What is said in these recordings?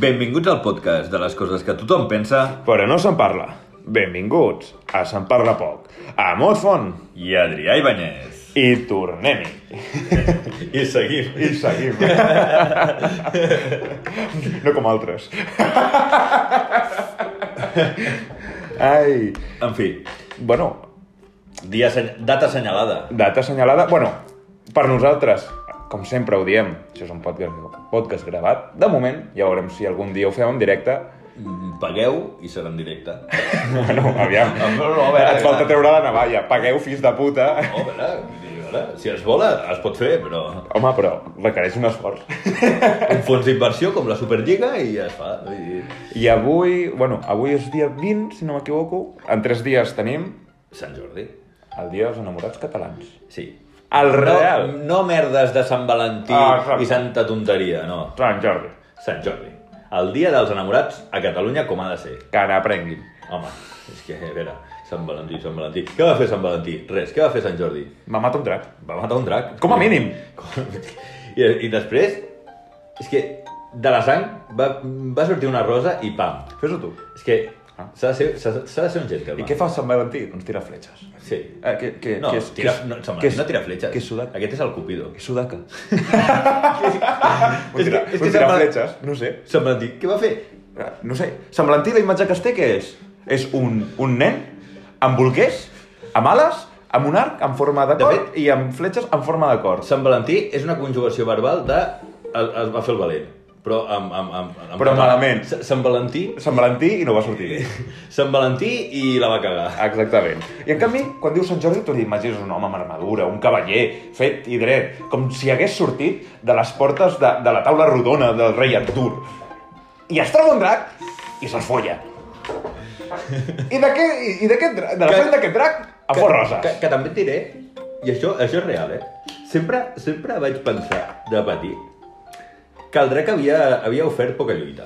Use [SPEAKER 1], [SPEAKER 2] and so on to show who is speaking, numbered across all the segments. [SPEAKER 1] Benvinguts al podcast de les coses que tothom pensa
[SPEAKER 2] Però no se'n parla. Benvinguts a Se'n Parla Poc, a Motfon.
[SPEAKER 1] i Adrià Ibáñez.
[SPEAKER 2] I tornem-hi.
[SPEAKER 1] I seguim.
[SPEAKER 2] I seguim. no com altres. Ai.
[SPEAKER 1] En fi,
[SPEAKER 2] Bueno,
[SPEAKER 1] dia seny- data assenyalada.
[SPEAKER 2] data assenyalada... Bueno, per nosaltres, com sempre ho diem, això és un podcast, podcast gravat. De moment, ja veurem si algun dia ho fem en directe.
[SPEAKER 1] Mm, Pagueu i serà en directe.
[SPEAKER 2] Bueno, aviam.
[SPEAKER 1] No, no, no, a veure,
[SPEAKER 2] Et falta treure la navalla. Pagueu, fills de puta.
[SPEAKER 1] Oh, a veure, vull dir, a veure, si es vola, es pot fer, però
[SPEAKER 2] Home, però requereix un esforç.
[SPEAKER 1] un fons d'inversió com la Superliga i ja es fa. Vull dir,
[SPEAKER 2] I avui, bueno, avui és dia 20, si no m'equivoco. En tres dies tenim
[SPEAKER 1] Sant Jordi.
[SPEAKER 2] el Dia dels Enamorats Catalans.
[SPEAKER 1] Sí.
[SPEAKER 2] El
[SPEAKER 1] No,
[SPEAKER 2] Real.
[SPEAKER 1] no merdes de Sant Valentí
[SPEAKER 2] Ah, exacte.
[SPEAKER 1] i santa tonteria, no.
[SPEAKER 2] Sant Jordi.
[SPEAKER 1] Sant Jordi. El dia dels enamorats a Catalunya com ha de ser.
[SPEAKER 2] Que n'aprenguin.
[SPEAKER 1] Home, és que, a veure, Sant Valentí, Sant Valentí... Què va fer Sant Valentí? Res, què va fer Sant Jordi?
[SPEAKER 2] M'ha matat un drac.
[SPEAKER 1] Va matar un drac.
[SPEAKER 2] Com a mínim.
[SPEAKER 1] Com- I, I després, és que de la sang va, va sortir una rosa i pam.
[SPEAKER 2] Fes-ho tu.
[SPEAKER 1] És que
[SPEAKER 2] Ah.
[SPEAKER 1] s'ha de, ser, s'ha- s'ha de ser un gentleman.
[SPEAKER 2] I què fa Sant Valentí? Doncs tira fletxes.
[SPEAKER 1] Sí.
[SPEAKER 2] Eh, que, que,
[SPEAKER 1] No,
[SPEAKER 2] que és,
[SPEAKER 1] tira,
[SPEAKER 2] que és,
[SPEAKER 1] no, Sant
[SPEAKER 2] que
[SPEAKER 1] Valentí
[SPEAKER 2] és,
[SPEAKER 1] no tira fletxes.
[SPEAKER 2] Que és sudaca.
[SPEAKER 1] Aquest és el Cupido.
[SPEAKER 2] Que és sudaca.
[SPEAKER 1] és
[SPEAKER 2] Un tira,
[SPEAKER 1] que- és que
[SPEAKER 2] un tira
[SPEAKER 1] Sant Val-
[SPEAKER 2] fletxes. No sé.
[SPEAKER 1] Sant Valentí, què va fer?
[SPEAKER 2] Eh, No sé. Sant Valentí, la imatge que es té, què és? És un, un nen amb bolquers, amb ales, amb un arc en forma de
[SPEAKER 1] De
[SPEAKER 2] cor
[SPEAKER 1] fet-
[SPEAKER 2] i amb fletxes en forma de cor.
[SPEAKER 1] Sant Valentí és una conjugació verbal de... El, es va fer el valent. Però amb... amb, amb, amb
[SPEAKER 2] Però malament.
[SPEAKER 1] Sa- Sant Valentí...
[SPEAKER 2] Sant Valentí i no va sortir bé.
[SPEAKER 1] Sant Valentí i la va cagar.
[SPEAKER 2] Exactament. I en canvi, quan dius Sant Jordi, tu t'imagines un home amb armadura, un cavaller, fet i dret, com si hagués sortit de les portes de, de la taula rodona del rei Artur. I es troba un drac i se'l folla. I de què, i, i d'aquest dra- de la
[SPEAKER 1] Que-
[SPEAKER 2] fent d'aquest drac, a fot roses.
[SPEAKER 1] Que, que també et diré, i això, això és real, eh? Sempre, sempre vaig pensar, de petit, que el drac havia, havia ofert poca lluita.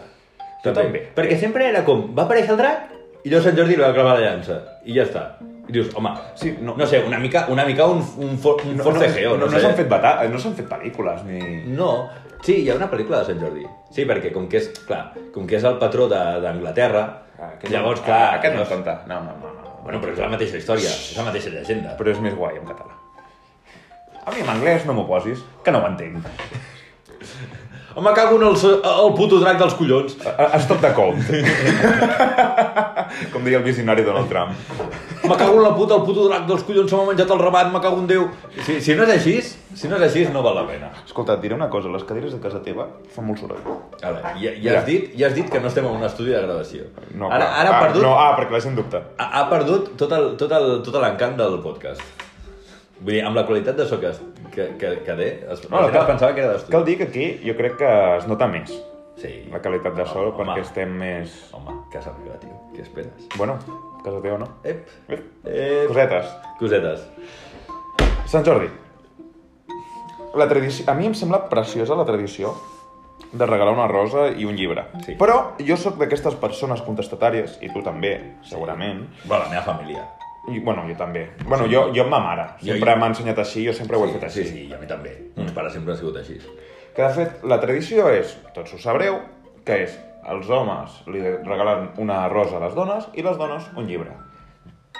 [SPEAKER 2] Jo també.
[SPEAKER 1] Perquè sempre era com, va aparèixer el drac, i llavors Sant Jordi li va clavar la llança, i ja està. I dius, home,
[SPEAKER 2] Sí, no-
[SPEAKER 1] no sé, una mica, una mica un, un, for, un
[SPEAKER 2] No, no,
[SPEAKER 1] forcejeo,
[SPEAKER 2] no,
[SPEAKER 1] no,
[SPEAKER 2] no
[SPEAKER 1] sé.
[SPEAKER 2] s'han fet, bata- no s'han fet pel·lícules, ni...
[SPEAKER 1] No, sí, hi ha una pel·lícula de Sant Jordi. Sí, perquè com que és, clar, com que és el patró de- d'Anglaterra,
[SPEAKER 2] Ah, aquest no-
[SPEAKER 1] llavors, clar...
[SPEAKER 2] ah, Aquest no
[SPEAKER 1] llavors-
[SPEAKER 2] compta. No, no, no. no.
[SPEAKER 1] Bueno, però és la mateixa història, és la mateixa llegenda.
[SPEAKER 2] Però és més guai en català. A mi en anglès no m'ho posis, que no ho entenc.
[SPEAKER 1] Home, cago en el, el puto drac dels collons.
[SPEAKER 2] A stop de compte. Com deia el visionari Donald Trump.
[SPEAKER 1] Me cago en la puta, el puto drac dels collons, se m'ha menjat el rabat, me cago en Déu. Si, si no és així, si no és així, no val la pena.
[SPEAKER 2] Escolta, et diré una cosa, les cadires de casa teva fan molt soroll.
[SPEAKER 1] Ara, ja, ja, has dit, ja has dit que no estem en un estudi de gravació.
[SPEAKER 2] No,
[SPEAKER 1] ara,
[SPEAKER 2] clar.
[SPEAKER 1] ara ha
[SPEAKER 2] ah,
[SPEAKER 1] perdut,
[SPEAKER 2] No, ah, perquè la gent dubta.
[SPEAKER 1] ha, ha perdut tot el- tot el- tot l'encant del podcast. Vull dir, amb la qualitat de so que, es- que, que, que té, es,
[SPEAKER 2] No,
[SPEAKER 1] la gent
[SPEAKER 2] cal-
[SPEAKER 1] es pensava que era d'estudi.
[SPEAKER 2] Cal dir que aquí jo crec que es nota més
[SPEAKER 1] Sí.
[SPEAKER 2] la qualitat de sol
[SPEAKER 1] Home.
[SPEAKER 2] perquè estem més...
[SPEAKER 1] Home, casa meva, tio, què esperes?
[SPEAKER 2] Bueno, casa teva, no?
[SPEAKER 1] Ep,
[SPEAKER 2] Ep.
[SPEAKER 1] ep,
[SPEAKER 2] Cosetes.
[SPEAKER 1] cosetes.
[SPEAKER 2] Sant Jordi. La tradició... A mi em sembla preciosa la tradició de regalar una rosa i un llibre.
[SPEAKER 1] Sí.
[SPEAKER 2] Però jo sóc d'aquestes persones contestatàries, i tu també, segurament,
[SPEAKER 1] Bueno, la meva família.
[SPEAKER 2] I, bueno, jo també. Bueno, jo, jo amb ma mare.
[SPEAKER 1] Jo-
[SPEAKER 2] Sempre
[SPEAKER 1] jo-
[SPEAKER 2] m'ha ensenyat així, jo sempre ho he fet així.
[SPEAKER 1] Sí, sí, i a mi també. Mm. Meus pares sempre han sigut així.
[SPEAKER 2] Que, de fet, la tradició és, tots ho sabreu, que és els homes li regalen una rosa a les dones i les dones un llibre.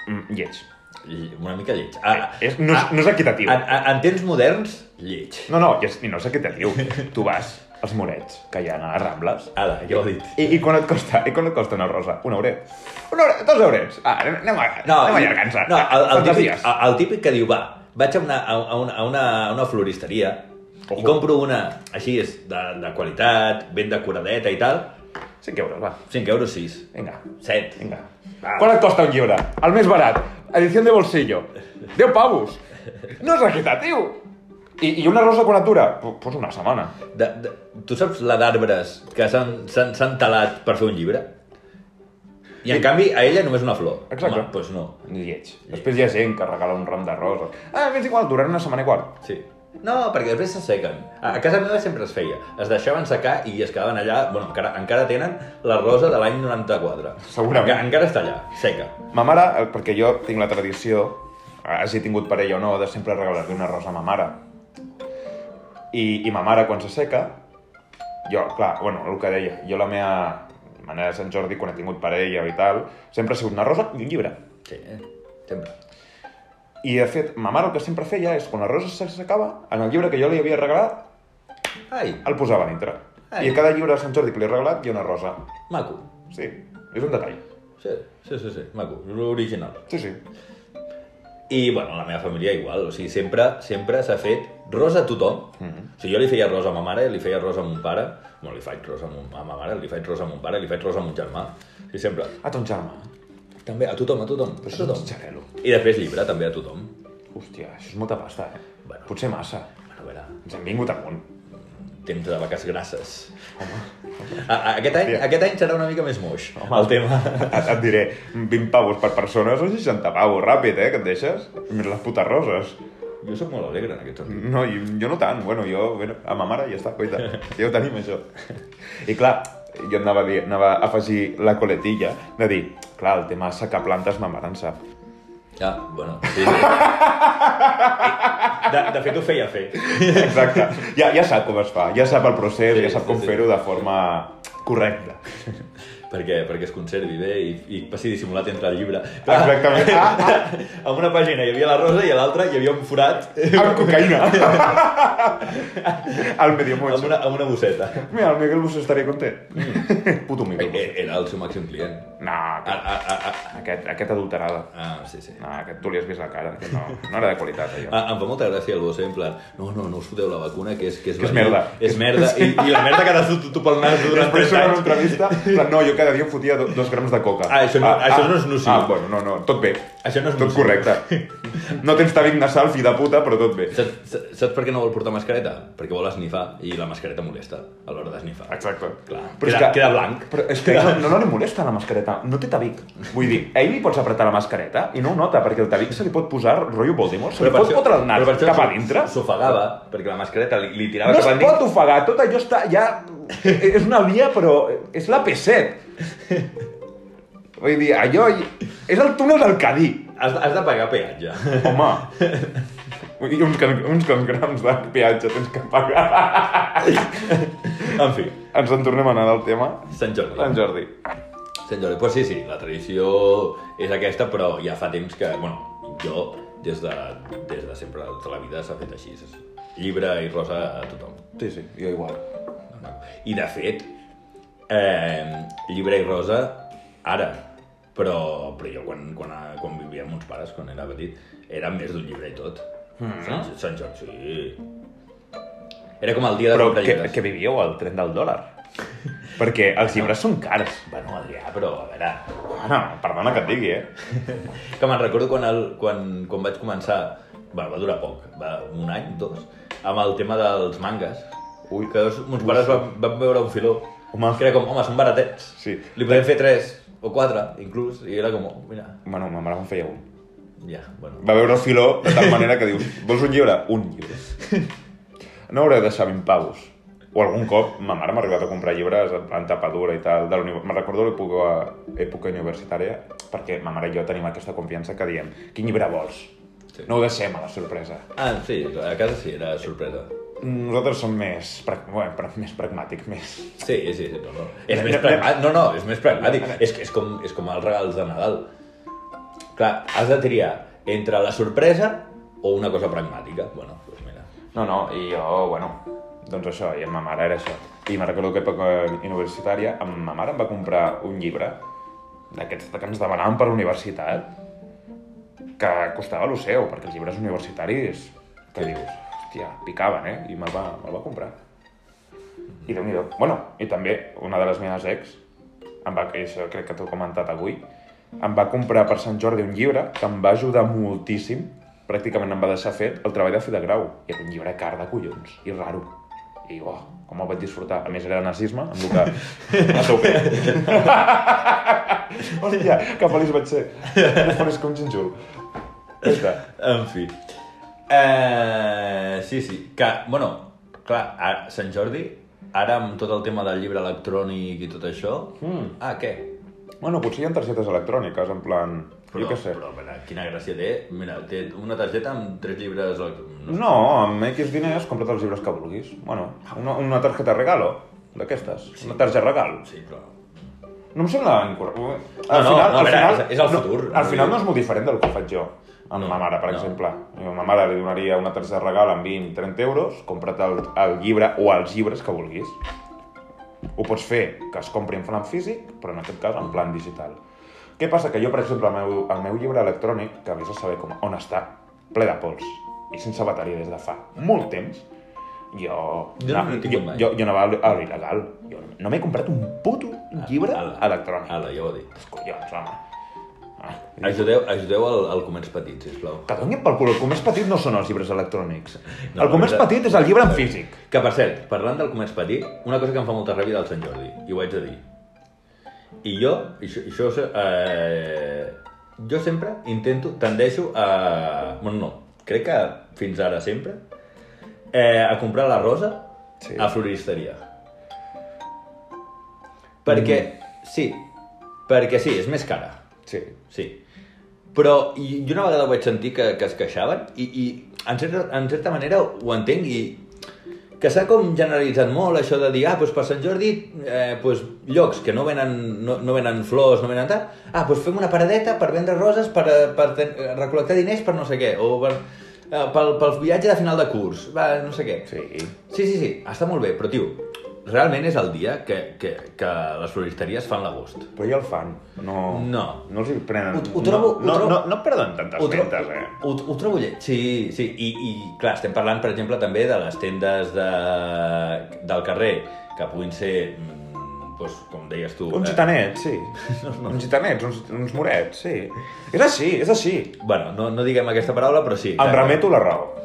[SPEAKER 2] Mm, lleig.
[SPEAKER 1] I Una mica lleig. Ah,
[SPEAKER 2] És, no, és, no és equitatiu.
[SPEAKER 1] en, en, en temps moderns, lleig.
[SPEAKER 2] No, no, i és, i no és equitatiu. Tu vas als morets que hi ha a les Rambles
[SPEAKER 1] Ara, ja ho he dit.
[SPEAKER 2] i, i quan et costa, i quan et costa una rosa? Un euret? Un euret? Dos eurets? Ah, anem, anem, a- anem
[SPEAKER 1] i-
[SPEAKER 2] allargant-se.
[SPEAKER 1] No, el, el,
[SPEAKER 2] Quantes
[SPEAKER 1] típic, ah.
[SPEAKER 2] dies?
[SPEAKER 1] el, el típic que diu, va, vaig a una, a, a una, a una, a una floristeria i
[SPEAKER 2] Ojo.
[SPEAKER 1] compro una, així és, de, de qualitat, ben decoradeta i tal,
[SPEAKER 2] Cinc euros, va.
[SPEAKER 1] 5 euros 6.
[SPEAKER 2] Vinga.
[SPEAKER 1] 7.
[SPEAKER 2] Vinga.
[SPEAKER 1] Va.
[SPEAKER 2] ¿Cuál et costa un llibre? El més barat. Edició de bolsillo. 10 pavos. No és equitatiu. I, I una rosa quan et dura? Pu- Pues una setmana.
[SPEAKER 1] De, de, tu saps la d'arbres que s'han s'han- s'han talat per fer un llibre? I en canvi, a ella només una flor.
[SPEAKER 2] Exacte.
[SPEAKER 1] Home, doncs no.
[SPEAKER 2] Lleig. Després hi ha gent que regala un ram de roses. Ah, m'és igual, duran una setmana i quart.
[SPEAKER 1] Sí. No, perquè després s'assequen. A a casa meva sempre es feia. Es deixaven secar i es quedaven allà... Bueno, encara, encara tenen la rosa de l'any 94.
[SPEAKER 2] Segurament.
[SPEAKER 1] Enca, encara està allà, seca.
[SPEAKER 2] Ma mare, eh, perquè jo tinc la tradició, eh, hagi tingut parella o no, de sempre regalar-li una rosa a ma mare. I, i ma mare, quan s'asseca, Jo, clar, bueno, el que deia, jo la meva manera de Sant Jordi, quan he tingut parella i tal, sempre ha sigut una rosa i un llibre.
[SPEAKER 1] Sí, eh? sempre.
[SPEAKER 2] I, de fet, ma mare el que sempre feia és, quan la rosa s'acaba, en el llibre que jo li havia regalat,
[SPEAKER 1] Ai,
[SPEAKER 2] el posava a dintre.
[SPEAKER 1] Ai.
[SPEAKER 2] I a cada llibre de Sant Jordi que li he regalat hi ha una rosa.
[SPEAKER 1] maco.
[SPEAKER 2] Sí, és un detall.
[SPEAKER 1] Sí, sí, sí, sí maco, l'original.
[SPEAKER 2] Sí, sí.
[SPEAKER 1] I, bueno, la meva família igual, o sigui, sempre sempre s'ha fet rosa a tothom.
[SPEAKER 2] Mm-hmm.
[SPEAKER 1] O sigui, jo li feia rosa a ma mare, li feia rosa a mon pare, bueno, li faig rosa a, mon, a ma mare, li faig rosa a mon pare, li faig rosa a mon germà. O sigui, sempre.
[SPEAKER 2] A ton germà.
[SPEAKER 1] També, a tothom, a tothom, a
[SPEAKER 2] Però això és
[SPEAKER 1] tothom.
[SPEAKER 2] un doncs, xarelo.
[SPEAKER 1] I després llibre, també a tothom.
[SPEAKER 2] Hòstia, això és molta pasta, eh?
[SPEAKER 1] Bueno.
[SPEAKER 2] Potser massa.
[SPEAKER 1] Bueno, a veure,
[SPEAKER 2] Ens hem vingut amunt.
[SPEAKER 1] temps de vaques grasses. A, a, aquest, any,
[SPEAKER 2] Hòstia.
[SPEAKER 1] aquest any serà una mica més moix, el tema.
[SPEAKER 2] Et, et diré, 20 pavos per persona són 60 pavos, ràpid, eh, que et deixes. Més les putes roses.
[SPEAKER 1] Jo sóc molt alegre en aquest sentit.
[SPEAKER 2] No, jo, jo no tant. Bueno, jo, bueno, a ma mare ja està, coita. Ja ho tenim, això. I clar, jo anava a, dir, anava a afegir la coletilla de dir, clar, el tema secaplantes ma mare en sap.
[SPEAKER 1] Ah, bueno, sí, sí. De, de fet, ho feia fer.
[SPEAKER 2] Exacte. Ja, ja sap com es fa, ja sap el procés,
[SPEAKER 1] Sí,
[SPEAKER 2] ja sap com
[SPEAKER 1] sí, sí.
[SPEAKER 2] fer-ho de forma correcta.
[SPEAKER 1] Perquè, perquè es conservi bé i, i passi dissimulat entre el llibre.
[SPEAKER 2] Exactament. Ah,
[SPEAKER 1] En una pàgina hi havia la rosa i a l'altra hi havia un forat
[SPEAKER 2] Amb cocaïna. Al medio
[SPEAKER 1] amb
[SPEAKER 2] mucho.
[SPEAKER 1] una, Mm. amb una bosseta.
[SPEAKER 2] Mira, el Miguel Bus estaria content. Puto Miguel Bus.
[SPEAKER 1] Eh, Era el seu màxim client.
[SPEAKER 2] No,
[SPEAKER 1] Ah,
[SPEAKER 2] aquest,
[SPEAKER 1] ah, ah, ah.
[SPEAKER 2] aquest, aquest adulterada.
[SPEAKER 1] ah sí, sí.
[SPEAKER 2] No, aquest tu li has vist la cara, que no, no era de qualitat, allò.
[SPEAKER 1] Ah, em fa molta gràcia el Bosé, en plan, no, no, no us foteu la vacuna, que és... Que és,
[SPEAKER 2] Que és
[SPEAKER 1] verí,
[SPEAKER 2] merda.
[SPEAKER 1] És merda, I, i la merda que t'has fotut tu pel nas durant
[SPEAKER 2] Després
[SPEAKER 1] 30
[SPEAKER 2] surt en una
[SPEAKER 1] anys.
[SPEAKER 2] entrevista, en plan, no, jo cada dia em fotia do, dos grams de coca.
[SPEAKER 1] Ah, això no- això no és nociu.
[SPEAKER 2] Ah, bueno, no, no, tot bé.
[SPEAKER 1] Això no és
[SPEAKER 2] tot
[SPEAKER 1] nociu.
[SPEAKER 2] correcte. No tens tabic nasal, fill de puta, però tot bé.
[SPEAKER 1] Saps, saps- saps per què no vol portar mascareta? Perquè vol esnifar i la mascareta molesta a l'hora d'esnifar.
[SPEAKER 2] Exacte.
[SPEAKER 1] Clar. Queda- queda blanc.
[SPEAKER 2] Però és que no, no, no li molesta la mascareta, no té tabic. Vull dir, a ell li pots apretar la mascareta i no ho nota, perquè el tabic se li pot posar rotllo Voldemort, se li pot fotre el nas
[SPEAKER 1] però per això
[SPEAKER 2] cap a
[SPEAKER 1] s'ho-
[SPEAKER 2] dintre.
[SPEAKER 1] S'ofegava, perquè la mascareta li, li tirava
[SPEAKER 2] No
[SPEAKER 1] cap
[SPEAKER 2] es
[SPEAKER 1] endins.
[SPEAKER 2] pot ofegar, tot allò està ja... És una via, però és la P7. Vull dir, allò... És el túnel del Cadí.
[SPEAKER 1] Has, de- has de pagar peatge.
[SPEAKER 2] Home, vull dir, uns, can- uns quants grams de peatge tens que pagar.
[SPEAKER 1] en fi,
[SPEAKER 2] Ens en tornem a anar del tema.
[SPEAKER 1] Sant Jordi.
[SPEAKER 2] Sant Jordi.
[SPEAKER 1] Sant Jordi, pues sí, sí, la tradició és aquesta, però ja fa temps que, bueno, jo des de, des de sempre, de tota la vida s'ha fet així. Llibre i rosa a tothom.
[SPEAKER 2] Sí, sí, jo igual.
[SPEAKER 1] I de fet, eh, llibre i rosa ara, però, però jo quan, quan, quan vivia amb uns pares, quan era petit, era més d'un llibre i tot.
[SPEAKER 2] Mm-hmm.
[SPEAKER 1] Mm. Sant, Sant Jordi, sí. Era com el dia de
[SPEAKER 2] Però
[SPEAKER 1] comprar
[SPEAKER 2] que,
[SPEAKER 1] llibres.
[SPEAKER 2] que vivíeu al tren del dòlar. Perquè els llibres són cars.
[SPEAKER 1] Bueno, Adrià, però a veure,
[SPEAKER 2] Bueno, perdona que et digui, eh?
[SPEAKER 1] que me'n recordo quan, el, quan, quan vaig començar, va, va durar poc, va, un any, dos, amb el tema dels mangas. Ui. Que els, uns pares van, van veure un filó.
[SPEAKER 2] Home.
[SPEAKER 1] Que era com, home, són baratets.
[SPEAKER 2] Sí.
[SPEAKER 1] Li podem fer tres o quatre, inclús, i era com, oh, mira,
[SPEAKER 2] Bueno, ma mare me'n feia un.
[SPEAKER 1] ja, bueno.
[SPEAKER 2] va veure el filó de tal manera que dius, vols un llibre? Un llibre. No hauré de deixar 20 pavos. O algun cop, ma mare m'ha arribat a comprar llibres en plan tapadura i tal, de la uni- me'n recordo l'època època universitària, perquè ma mare i jo tenim aquesta confiança que diem, quin llibre vols?
[SPEAKER 1] Sí.
[SPEAKER 2] No ho deixem a la sorpresa.
[SPEAKER 1] Ah, sí, a casa sí, era sorpresa.
[SPEAKER 2] Nosaltres som més, pra... bueno, pra... més pragmàtics, més...
[SPEAKER 1] Sí, sí, sí, no, no. És
[SPEAKER 2] Anem-
[SPEAKER 1] més
[SPEAKER 2] anem-
[SPEAKER 1] pragmàtic, no, no, és més pragmàtic. És, és, com, és com els regals de Nadal. Clar, has de triar entre la sorpresa o una cosa pragmàtica. Bueno, doncs mira,
[SPEAKER 2] No, no, i jo, bueno, doncs això, i amb ma mare era això. I me'n recordo que època universitària, amb ma mare em va comprar un llibre d'aquests que ens demanaven per la universitat, que costava lo seu, perquè els llibres universitaris, que dius, hòstia, picaven, eh? I me'l va, me'l va comprar. I déu nhi Bueno, i també una de les meves ex, em va, i això crec que t'ho he comentat avui, em va comprar per Sant Jordi un llibre que em va ajudar moltíssim, pràcticament em va deixar fet el treball de fi de grau. I era un llibre car de collons, i raro. I oh, com el vaig disfrutar. A més, era nazisme, amb el que... A tope. Hòstia, que feliç vaig ser. No feliç com Ginjul. Ja està.
[SPEAKER 1] En fi. Eh, sí, sí. Que, bueno, clar, a Sant Jordi, ara amb tot el tema del llibre electrònic i tot això...
[SPEAKER 2] Mm.
[SPEAKER 1] Ah, què?
[SPEAKER 2] Bueno, potser hi ha targetes electròniques, en plan... Però, jo què sé.
[SPEAKER 1] Però, mira, quina gràcia té. Mira, té una targeta amb tres llibres electrònics.
[SPEAKER 2] No, amb X diners compra't els llibres que vulguis. Bueno, una, una targeta regalo. d'aquestes, una targeta regal.
[SPEAKER 1] Sí, però...
[SPEAKER 2] No em sembla incorrecte.
[SPEAKER 1] No, no, no, a veure, és- és el futur.
[SPEAKER 2] No, al final no és molt diferent del que faig jo amb
[SPEAKER 1] No,
[SPEAKER 2] ma mare, per
[SPEAKER 1] no.
[SPEAKER 2] exemple. Jo a ma mare li donaria una tercera regal amb 20-30 euros, compra't el, el llibre o els llibres que vulguis. Ho pots fer que es compri en plan físic, però en aquest cas en plan digital. Què passa? Que jo, per exemple, el meu, el meu llibre electrònic, que vés a saber com, on està, ple de pols i sense bateria des de fa molt temps, jo...
[SPEAKER 1] Jo no l'he
[SPEAKER 2] jo,
[SPEAKER 1] tingut mai.
[SPEAKER 2] jo, jo anava a l'il·legal. Jo no m'he comprat un puto llibre
[SPEAKER 1] Ah, Ala,
[SPEAKER 2] electrònic.
[SPEAKER 1] Ala, ja ho he dit.
[SPEAKER 2] Els collons, home. Ah.
[SPEAKER 1] Ajudeu, ajudeu al, al comerç petit, sisplau.
[SPEAKER 2] Que donin pel cul, el comerç petit no són els llibres electrònics.
[SPEAKER 1] No,
[SPEAKER 2] el comerç
[SPEAKER 1] de-
[SPEAKER 2] petit és el llibre en físic.
[SPEAKER 1] Que, per cert, parlant del comerç petit, una cosa que em fa molta ràbia del Sant Jordi, i ho haig de dir. I jo, i això, i això eh, jo sempre intento, tendeixo a... Bueno, no, crec que fins ara sempre, eh, a comprar la rosa
[SPEAKER 2] Sí.
[SPEAKER 1] sí. a floristeria. Perquè, sí, perquè sí, és més cara,
[SPEAKER 2] Sí.
[SPEAKER 1] sí. Però i- jo una vegada ho vaig sentir que, que es queixaven i, i en, certa, en certa manera ho entenc i que s'ha com generalitzat molt això de dir, ah, doncs per Sant Jordi, eh, doncs llocs que no venen, no, no venen flors, no venen tal, ah, doncs fem una paradeta per vendre roses, per, eh, per ten- eh, recol·lectar diners per no sé què, o per, eh, pel, pel viatge de final de curs, va, no sé què.
[SPEAKER 2] Sí.
[SPEAKER 1] Sí, sí, sí, està molt bé, però tio, realment és el dia que, que, que les floristeries fan l'agost.
[SPEAKER 2] Però ja el fan. No,
[SPEAKER 1] No.
[SPEAKER 2] no els hi prenen.
[SPEAKER 1] Ho- ho trobo- ho
[SPEAKER 2] no, no,
[SPEAKER 1] trobo-
[SPEAKER 2] no, no perden tantes
[SPEAKER 1] Ho, tro
[SPEAKER 2] mentes, eh?
[SPEAKER 1] ho, ho trobo lleig. Sí, sí. I, I, clar, estem parlant, per exemple, també de les tendes de, del carrer, que puguin ser, mm, doncs, com deies tu...
[SPEAKER 2] Uns gitanets, sí. Uns gitanets, uns, uns morets, sí. És així, és així.
[SPEAKER 1] Bueno, no, no diguem aquesta paraula, però sí.
[SPEAKER 2] Em
[SPEAKER 1] exacte.
[SPEAKER 2] remeto la raó.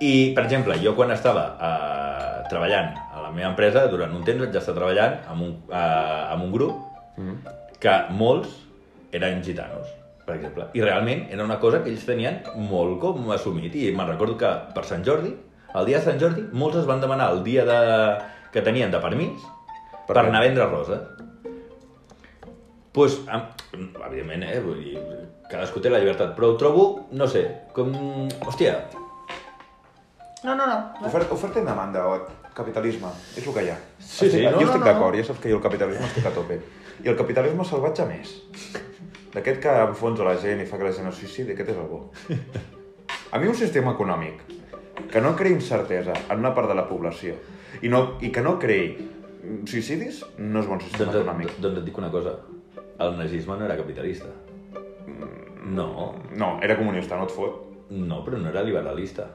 [SPEAKER 1] I, per exemple, jo quan estava eh, treballant a la meva empresa, durant un temps vaig estar treballant amb un, eh, amb un grup que molts eren gitanos, per exemple. I realment era una cosa que ells tenien molt com assumit. I me'n recordo que per Sant Jordi, el dia de Sant Jordi, molts es van demanar el dia de... que tenien de permís per,
[SPEAKER 2] Per
[SPEAKER 1] per anar a vendre roses. Pues, am- evidentment, eh? Vull dir, cadascú té la llibertat, però ho trobo, no sé, com... Hòstia, no, no, no.
[SPEAKER 2] Oferta, oferta i demanda, o capitalisme, és el que hi ha.
[SPEAKER 1] Sí,
[SPEAKER 2] Estic-
[SPEAKER 1] sí, no,
[SPEAKER 2] jo estic
[SPEAKER 1] no, no.
[SPEAKER 2] d'acord, ja saps que jo el capitalisme estic a tope. I el capitalisme salvatge més. D'aquest que enfonsa la gent i fa que la gent es suïcidi, aquest és el bo. A mi un sistema econòmic que no creï incertesa en una part de la població i, no, i que no creï suïcidis no és bon sistema
[SPEAKER 1] Doncs,
[SPEAKER 2] econòmic.
[SPEAKER 1] doncs, doncs et dic una cosa. El nazisme no era capitalista. Mm, No,
[SPEAKER 2] No, era comunista, no et fot.
[SPEAKER 1] no, però no era liberalista.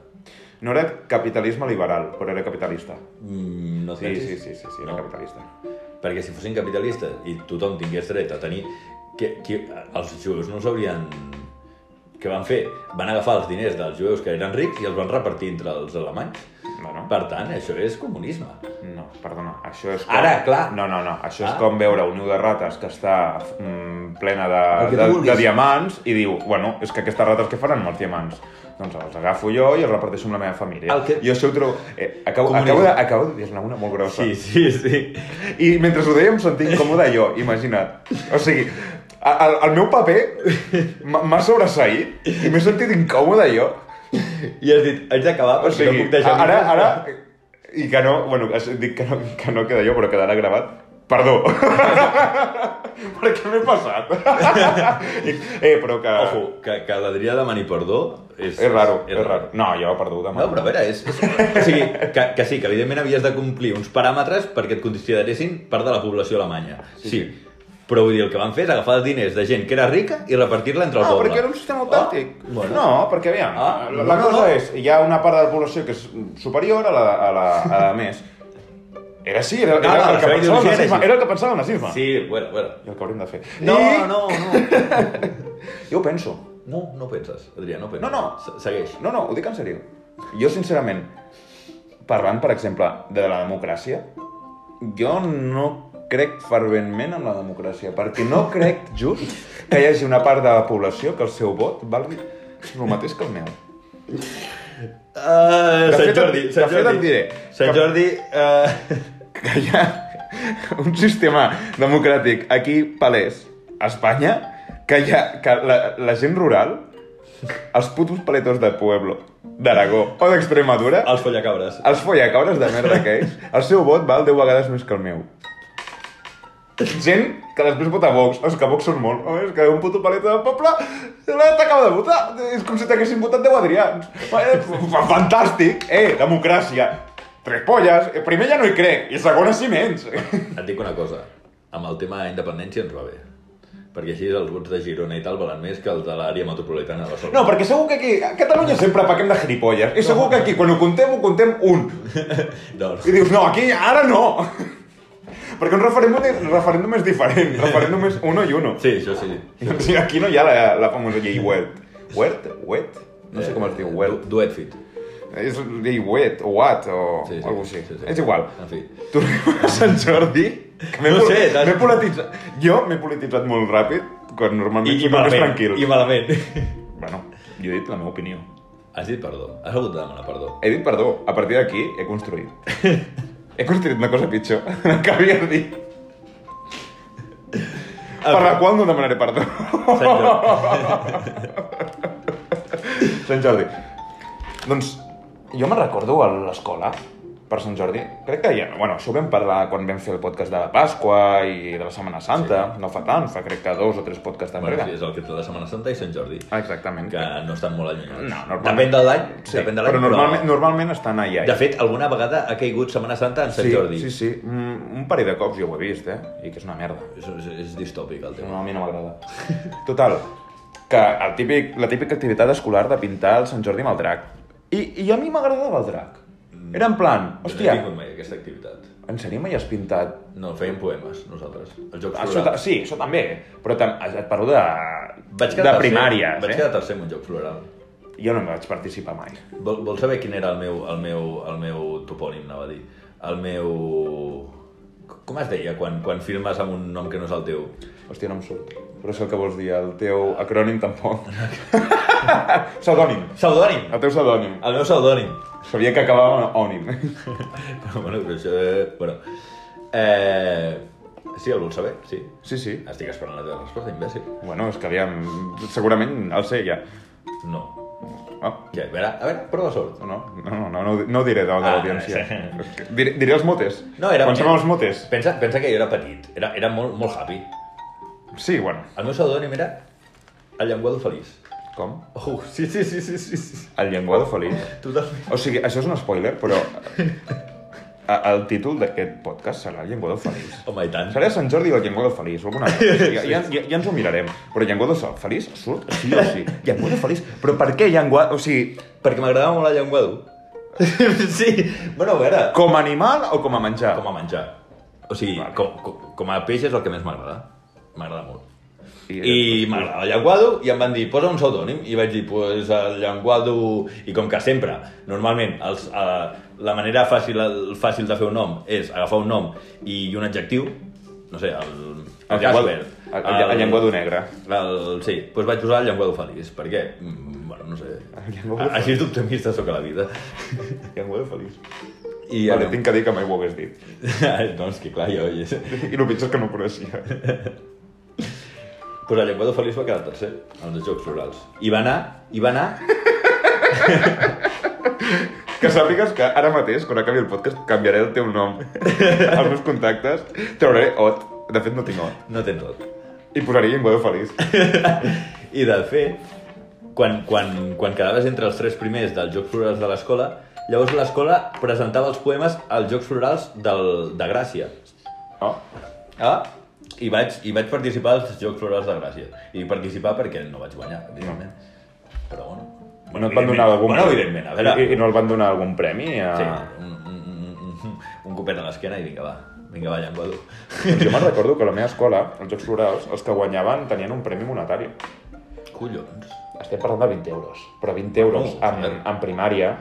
[SPEAKER 2] No era capitalisme liberal, però era capitalista.
[SPEAKER 1] Mm, No et
[SPEAKER 2] Sí,
[SPEAKER 1] pensis?
[SPEAKER 2] sí, sí, sí, sí era
[SPEAKER 1] No.
[SPEAKER 2] capitalista.
[SPEAKER 1] Perquè si fossin capitalistes i tothom tingués dret a tenir... Que, que els jueus no s'haurien... Què van fer? Van agafar els diners dels jueus que eren rics i els van repartir entre els alemanys.
[SPEAKER 2] Bueno.
[SPEAKER 1] Per tant, això és comunisme.
[SPEAKER 2] No, perdona, això és
[SPEAKER 1] Ara, clar.
[SPEAKER 2] No, no, no, això és
[SPEAKER 1] Ah.
[SPEAKER 2] com veure un niu de rates que està mm, plena de,
[SPEAKER 1] El que tu
[SPEAKER 2] de, de
[SPEAKER 1] vulguis.
[SPEAKER 2] diamants i diu, bueno, és que aquestes rates què faran amb els diamants? Doncs els agafo jo i els reparteixo amb la meva família.
[SPEAKER 1] El que-
[SPEAKER 2] Jo això ho trobo... Eh, acabo,
[SPEAKER 1] Comunisme.
[SPEAKER 2] acabo, de, acabo de dir-ne una molt grossa.
[SPEAKER 1] Sí, sí, sí.
[SPEAKER 2] I mentre ho deia em sentia incòmode jo, imagina't. O sigui, a- el, el meu paper m'ha m'ha sobreseït i m'he sentit incòmode jo.
[SPEAKER 1] I has dit, haig d'acabar
[SPEAKER 2] O
[SPEAKER 1] perquè
[SPEAKER 2] sigui,
[SPEAKER 1] no puc deixar...
[SPEAKER 2] ara, ara... I que no, bueno, dic que no, que no queda jo, però quedarà gravat. Perdó. per què m'he passat? eh, però que...
[SPEAKER 1] Ojo, que, que l'Adrià demani perdó és...
[SPEAKER 2] És raro, és raro. No, jo, perdó, demà.
[SPEAKER 1] No, però a veure, és... és... O sigui, que, que sí, que evidentment havies de complir uns paràmetres perquè et consideressin part de la població alemanya. Sí. sí. Però vull dir, el que van fer és agafar els diners de gent que era rica i repartir-la entre el
[SPEAKER 2] Ah,
[SPEAKER 1] poble.
[SPEAKER 2] perquè era un sistema autàctic.
[SPEAKER 1] Oh, bueno.
[SPEAKER 2] No, perquè aviam,
[SPEAKER 1] Ah,
[SPEAKER 2] la, la
[SPEAKER 1] no,
[SPEAKER 2] cosa
[SPEAKER 1] no.
[SPEAKER 2] és, hi ha una part de la població que és superior a la, a la, a la més. Era així, era, era,
[SPEAKER 1] Ah, la
[SPEAKER 2] el que
[SPEAKER 1] seva
[SPEAKER 2] pensava el
[SPEAKER 1] ideologia era
[SPEAKER 2] nazisme.
[SPEAKER 1] així.
[SPEAKER 2] Era el que pensava el nazisme.
[SPEAKER 1] Sí, bueno, bueno.
[SPEAKER 2] I el que hauríem de fer.
[SPEAKER 1] No,
[SPEAKER 2] I...
[SPEAKER 1] no, no.
[SPEAKER 2] Jo ho penso.
[SPEAKER 1] No, no penses, Adrià, no penses.
[SPEAKER 2] No, no.
[SPEAKER 1] Se- Segueix.
[SPEAKER 2] No, no, ho dic en sèrio. Jo, sincerament, parlant, per exemple, de la democràcia, jo no crec ferventment en la democràcia, perquè no crec just que hi hagi una part de la població que el seu vot valgui el mateix que el meu.
[SPEAKER 1] Uh,
[SPEAKER 2] De
[SPEAKER 1] Sant
[SPEAKER 2] fet,
[SPEAKER 1] Jordi,
[SPEAKER 2] de
[SPEAKER 1] Sant
[SPEAKER 2] fet,
[SPEAKER 1] Jordi.
[SPEAKER 2] et diré
[SPEAKER 1] Sant
[SPEAKER 2] que-
[SPEAKER 1] Jordi... Uh...
[SPEAKER 2] Que hi ha un sistema democràtic aquí, palès, a Espanya, que, hi ha, que la, la gent rural els putos paletos de Pueblo, d'Aragó o d'Extremadura,
[SPEAKER 1] Els follacabres.
[SPEAKER 2] els follacabres de merda que és, el seu vot val 10 vegades més que el meu. Gent que després vota Vox, és que Vox són molt, oh, és que un puto paleta del poble l'ha t'acaba de votar, és com si t'haguessin votat 10 Adrians. Eh, fa- Fantàstic, eh, democràcia. Tres polles, Eh, primer ja no hi crec, i segona sí menys.
[SPEAKER 1] Et dic una cosa, amb el tema independència ens va bé. Perquè així els vots de Girona i tal valen més que els de l'àrea metropolitana de Barcelona.
[SPEAKER 2] No, perquè segur que aquí, a Catalunya sempre paquem de gilipolles, i segur que aquí quan ho contem, ho contem un.
[SPEAKER 1] Doncs,
[SPEAKER 2] I dius, no, aquí ara no. Perquè un referèndum, un referèndum és diferent, referèndum és uno i uno.
[SPEAKER 1] sí, això sí.
[SPEAKER 2] Sí, aquí no hi ha la, la famosa llei wet. Wet? Wet? No
[SPEAKER 1] Eh,
[SPEAKER 2] sé com es diu, wet.
[SPEAKER 1] Du- Duet fit.
[SPEAKER 2] És llei wet o what o
[SPEAKER 1] Sí, sí,
[SPEAKER 2] alguna cosa
[SPEAKER 1] sí,
[SPEAKER 2] així.
[SPEAKER 1] sí.
[SPEAKER 2] És igual.
[SPEAKER 1] En fi.
[SPEAKER 2] Tornem a Sant Jordi. que m'he
[SPEAKER 1] No
[SPEAKER 2] pol-
[SPEAKER 1] sé, t'has-
[SPEAKER 2] m'he polititzat. Jo m'he polititzat molt ràpid, quan normalment soc més tranquil.
[SPEAKER 1] I malament.
[SPEAKER 2] Bueno, jo he dit la meva opinió.
[SPEAKER 1] Has dit perdó. Has hagut de demanar perdó.
[SPEAKER 2] He dit perdó, a partir d'aquí he construït. he construït una cosa pitjor, el que havies dit. Per la qual no demanaré perdó.
[SPEAKER 1] Sant Jordi.
[SPEAKER 2] Sant Jordi. Doncs jo me'n recordo a l'escola, per Sant Jordi. Crec que ja... Bueno, això ho vam parlar quan vam fer el podcast de la Pasqua i de la Setmana Santa. No fa tant, fa crec que dos o tres podcasts
[SPEAKER 1] Bueno, sí,
[SPEAKER 2] enrere.
[SPEAKER 1] és el que té la Setmana Santa i Sant Jordi.
[SPEAKER 2] Ah, Exactament.
[SPEAKER 1] Que no estan molt allunyats.
[SPEAKER 2] No, normalment.
[SPEAKER 1] Depèn de l'any.
[SPEAKER 2] Sí,
[SPEAKER 1] depèn de l'any,
[SPEAKER 2] però normalment, normalment estan allà. eh?
[SPEAKER 1] De fet, alguna vegada ha caigut Setmana Santa en Sant
[SPEAKER 2] sí,
[SPEAKER 1] Jordi.
[SPEAKER 2] Sí, sí. Mm, un parell de cops jo ho he vist, eh? I que és una merda.
[SPEAKER 1] És, és, és distòpic el tema.
[SPEAKER 2] No, a mi no m'agrada. Total, que el típic, la típica activitat escolar de pintar el Sant Jordi amb el drac. I, i a mi m'agradava el drac. Era en plan, hòstia,
[SPEAKER 1] Mm, No he tingut mai aquesta activitat.
[SPEAKER 2] en sèrio mai has pintat?
[SPEAKER 1] No, fèiem poemes, nosaltres. El joc
[SPEAKER 2] Ah, Això, ta-
[SPEAKER 1] floral.
[SPEAKER 2] sí, això també, però tam, et parlo de,
[SPEAKER 1] Vaig quedar tercer-
[SPEAKER 2] de primària.
[SPEAKER 1] Vaig
[SPEAKER 2] Eh?
[SPEAKER 1] quedar tercer en un joc floral.
[SPEAKER 2] Jo no en vaig participar mai.
[SPEAKER 1] Vol, vols saber quin era el meu, el meu, el meu topònim, anava a dir? El meu... Com es deia quan, quan firmes amb un nom que no és el teu?
[SPEAKER 2] Hòstia, no em surt. Però és el que vols dir, el teu acrònim tampoc. pseudònim.
[SPEAKER 1] Pseudònim!
[SPEAKER 2] El teu pseudònim.
[SPEAKER 1] El meu pseudònim.
[SPEAKER 2] Sabia que acabava en ònim.
[SPEAKER 1] Però bueno, però això... eh, Bueno. Eh... Sí, el vols saber? Sí.
[SPEAKER 2] Sí, sí.
[SPEAKER 1] Estic esperant la teva resposta, imbècil.
[SPEAKER 2] Bueno, és que aviam... Segurament el sé ja.
[SPEAKER 1] No.
[SPEAKER 2] Ah,
[SPEAKER 1] Què? A veure, a veure, prova sort.
[SPEAKER 2] No, no, no, no, no, no ho diré davant de
[SPEAKER 1] Ah,
[SPEAKER 2] l'audiència.
[SPEAKER 1] sí.
[SPEAKER 2] Diré, diré els motes.
[SPEAKER 1] No, era-
[SPEAKER 2] Quan són els motes?
[SPEAKER 1] Pensa, pensa que jo era petit, era, era molt, molt happy.
[SPEAKER 2] Sí, bueno.
[SPEAKER 1] El meu pseudònim era el llenguado feliç.
[SPEAKER 2] Com?
[SPEAKER 1] Oh, sí, sí, sí, sí, sí, sí.
[SPEAKER 2] El llenguado feliç.
[SPEAKER 1] Totalment.
[SPEAKER 2] O sigui, això és un spoiler, però... a- El títol d'aquest podcast serà el llenguado feliç.
[SPEAKER 1] Home, i tant.
[SPEAKER 2] Serà Sant Jordi o el llenguado feliç, o alguna cosa. Ja, ja, ja, ja ens ho mirarem. Però llenguado so- feliç surt sí o sí. Llenguado feliç? Però per què llenguado... O sigui,
[SPEAKER 1] Perquè m'agradava molt el llenguado. sí, bueno, a veure, com,
[SPEAKER 2] com a animal o com a menjar?
[SPEAKER 1] com a menjar. O sigui,
[SPEAKER 2] Vale.
[SPEAKER 1] com, com, com a peix és el que més m'agrada. M'agrada molt.
[SPEAKER 2] I-
[SPEAKER 1] I m'agradava el llenguado i em van dir, posa un pseudònim. I vaig dir, pues el llenguado... I com que sempre, normalment, els, eh, la manera fàcil, el, fàcil de fer un nom és agafar un nom i un adjectiu, no sé, el...
[SPEAKER 2] El llenguado,
[SPEAKER 1] Casper,
[SPEAKER 2] el, el, el llenguado negre.
[SPEAKER 1] El, sí, doncs vaig posar el llenguado feliç, perquè, mm, bueno, no sé,
[SPEAKER 2] llenguado
[SPEAKER 1] Ah, així és d'optimista sóc a la vida.
[SPEAKER 2] Llenguado feliç.
[SPEAKER 1] I
[SPEAKER 2] vale,
[SPEAKER 1] em-
[SPEAKER 2] tinc que dir que mai ho hagués dit.
[SPEAKER 1] no, és que clar, jo... Doncs
[SPEAKER 2] I el pitjor és que no ho coneixia.
[SPEAKER 1] pues el Llenguado Feliç va quedar tercer en els Jocs Florals. I va anar, i va anar...
[SPEAKER 2] Que sàpigues que ara mateix, quan acabi el podcast, canviaré el teu nom. Els meus contactes, trauré Ot. De fet, no tinc Ot.
[SPEAKER 1] No tens tot.
[SPEAKER 2] I posaré Llenguado Feliç.
[SPEAKER 1] I de fet, quan, quan, quan quedaves entre els tres primers dels Jocs Florals de l'escola, llavors l'escola presentava els poemes als Jocs Florals del, de Gràcia.
[SPEAKER 2] Oh.
[SPEAKER 1] Ah? I vaig, I vaig participar als Jocs Florals de Gràcia. I participar perquè no vaig guanyar, evidentment. Però bueno.
[SPEAKER 2] no et van donar algun...
[SPEAKER 1] Bueno, evidentment, a veure.
[SPEAKER 2] I, I, no et van donar algun premi? A...
[SPEAKER 1] Sí, Ah, un, un, un, un, un copet a l'esquena i vinga, va. Vinga, va, llenguado.
[SPEAKER 2] Doncs jo me'n recordo que a la meva escola, als Jocs Florals, els que guanyaven tenien un premi monetari.
[SPEAKER 1] Collons.
[SPEAKER 2] Estem parlant de 20 euros. Però 20 euros
[SPEAKER 1] Oh,
[SPEAKER 2] en,
[SPEAKER 1] joder.
[SPEAKER 2] en primària,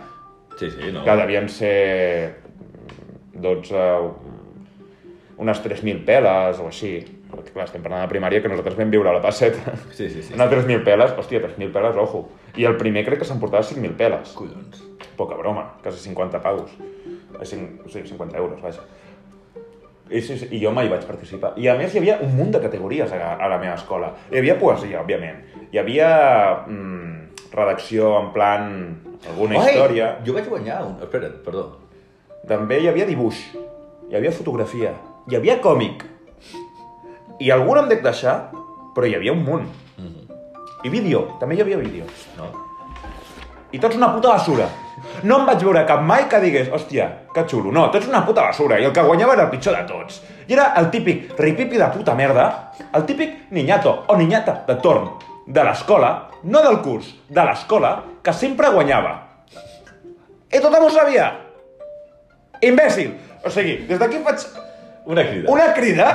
[SPEAKER 1] Sí, sí, no.
[SPEAKER 2] que devien ser... mm, 12... o- unes 3.000 peles o així. Perquè, clar, estem parlant de primària que nosaltres vam viure a la passeta.
[SPEAKER 1] Sí, sí, sí.
[SPEAKER 2] Anar 3.000 peles, hòstia, 3.000 peles, ojo. I el primer crec que s'emportava 5.000 peles.
[SPEAKER 1] Collons.
[SPEAKER 2] Poca broma, quasi 50 pavos. Eh, cinc- o sigui, 50 euros, vaja. I, sí, sí, I jo mai vaig participar. I a més hi havia un munt de categories a, a la meva escola. Hi havia poesia, òbviament. Hi havia mm, redacció en plan alguna
[SPEAKER 1] Ai,
[SPEAKER 2] història.
[SPEAKER 1] Jo vaig guanyar un... Espera't, perdó.
[SPEAKER 2] També hi havia dibuix, hi havia fotografia, hi havia còmic. I algun em dec deixar, però hi havia un munt. I vídeo, també hi havia vídeo.
[SPEAKER 1] No?
[SPEAKER 2] I tots una puta basura. No em vaig veure cap mai que digués, hòstia, que xulo. No, tots una puta basura. I el que guanyava era el pitjor de tots. I era el típic ripipi de puta merda, el típic niñato o niñata de torn, de l'escola, no del curs, de l'escola, que sempre guanyava. I tothom ho sabia. Imbècil. O sigui, des d'aquí faig
[SPEAKER 1] Una crida.
[SPEAKER 2] una crida.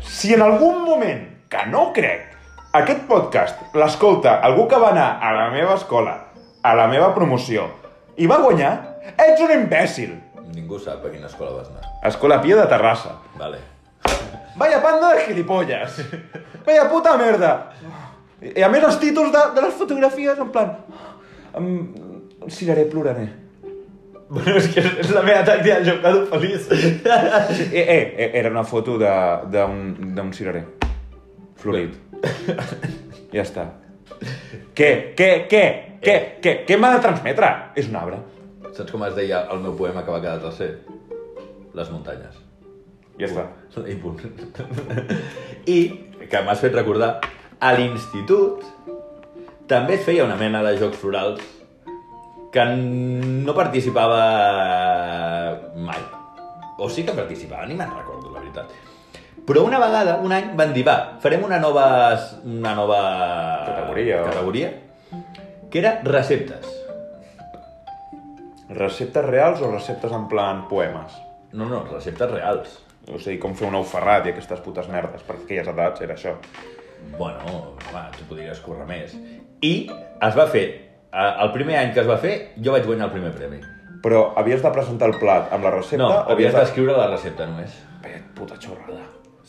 [SPEAKER 2] Si en algun moment, que no ho crec, aquest podcast l'escolta algú que va anar a la meva escola, a la meva promoció, i va guanyar, ets un imbècil.
[SPEAKER 1] Ningú sap a quina escola vas anar.
[SPEAKER 2] Escola Pia de Terrassa.
[SPEAKER 1] Vale.
[SPEAKER 2] Vaya panda de gilipolles. Vaya puta merda. I a més els títols de, de les fotografies, en plan... Em... Ciraré, ploraré.
[SPEAKER 1] Bueno, és que és la meva tàctica de jugador feliç.
[SPEAKER 2] Eh, eh, eh, era una foto de- d'un d'un cirerer. Florit. Ja està. Què? Què? Què? Què? Què? Què m'ha de transmetre? És un arbre.
[SPEAKER 1] Saps com es deia el meu poema que va quedar tercer? Les muntanyes.
[SPEAKER 2] Ja està.
[SPEAKER 1] I punt. I, que m'has fet recordar, a l'institut també es feia una mena de jocs florals que no participava mai. O sí que participava, ni me'n recordo, la veritat. Però una vegada, un any, van dir, va, farem una nova... Una nova...
[SPEAKER 2] Categoria.
[SPEAKER 1] Categoria. Que era receptes.
[SPEAKER 2] Receptes reals o receptes en plan poemes?
[SPEAKER 1] No, no, receptes reals.
[SPEAKER 2] O sigui, com fer un ou ferrat i aquestes putes merdes, perquè aquelles edats era això.
[SPEAKER 1] Bueno, home, tu podries córrer més. I es va fer, eh, el primer any que es va fer, jo vaig guanyar el primer premi.
[SPEAKER 2] Però havies de presentar el plat amb la recepta
[SPEAKER 1] No,
[SPEAKER 2] o
[SPEAKER 1] havies
[SPEAKER 2] havies de...
[SPEAKER 1] d'escriure la recepta només.
[SPEAKER 2] Vaya puta xorrada.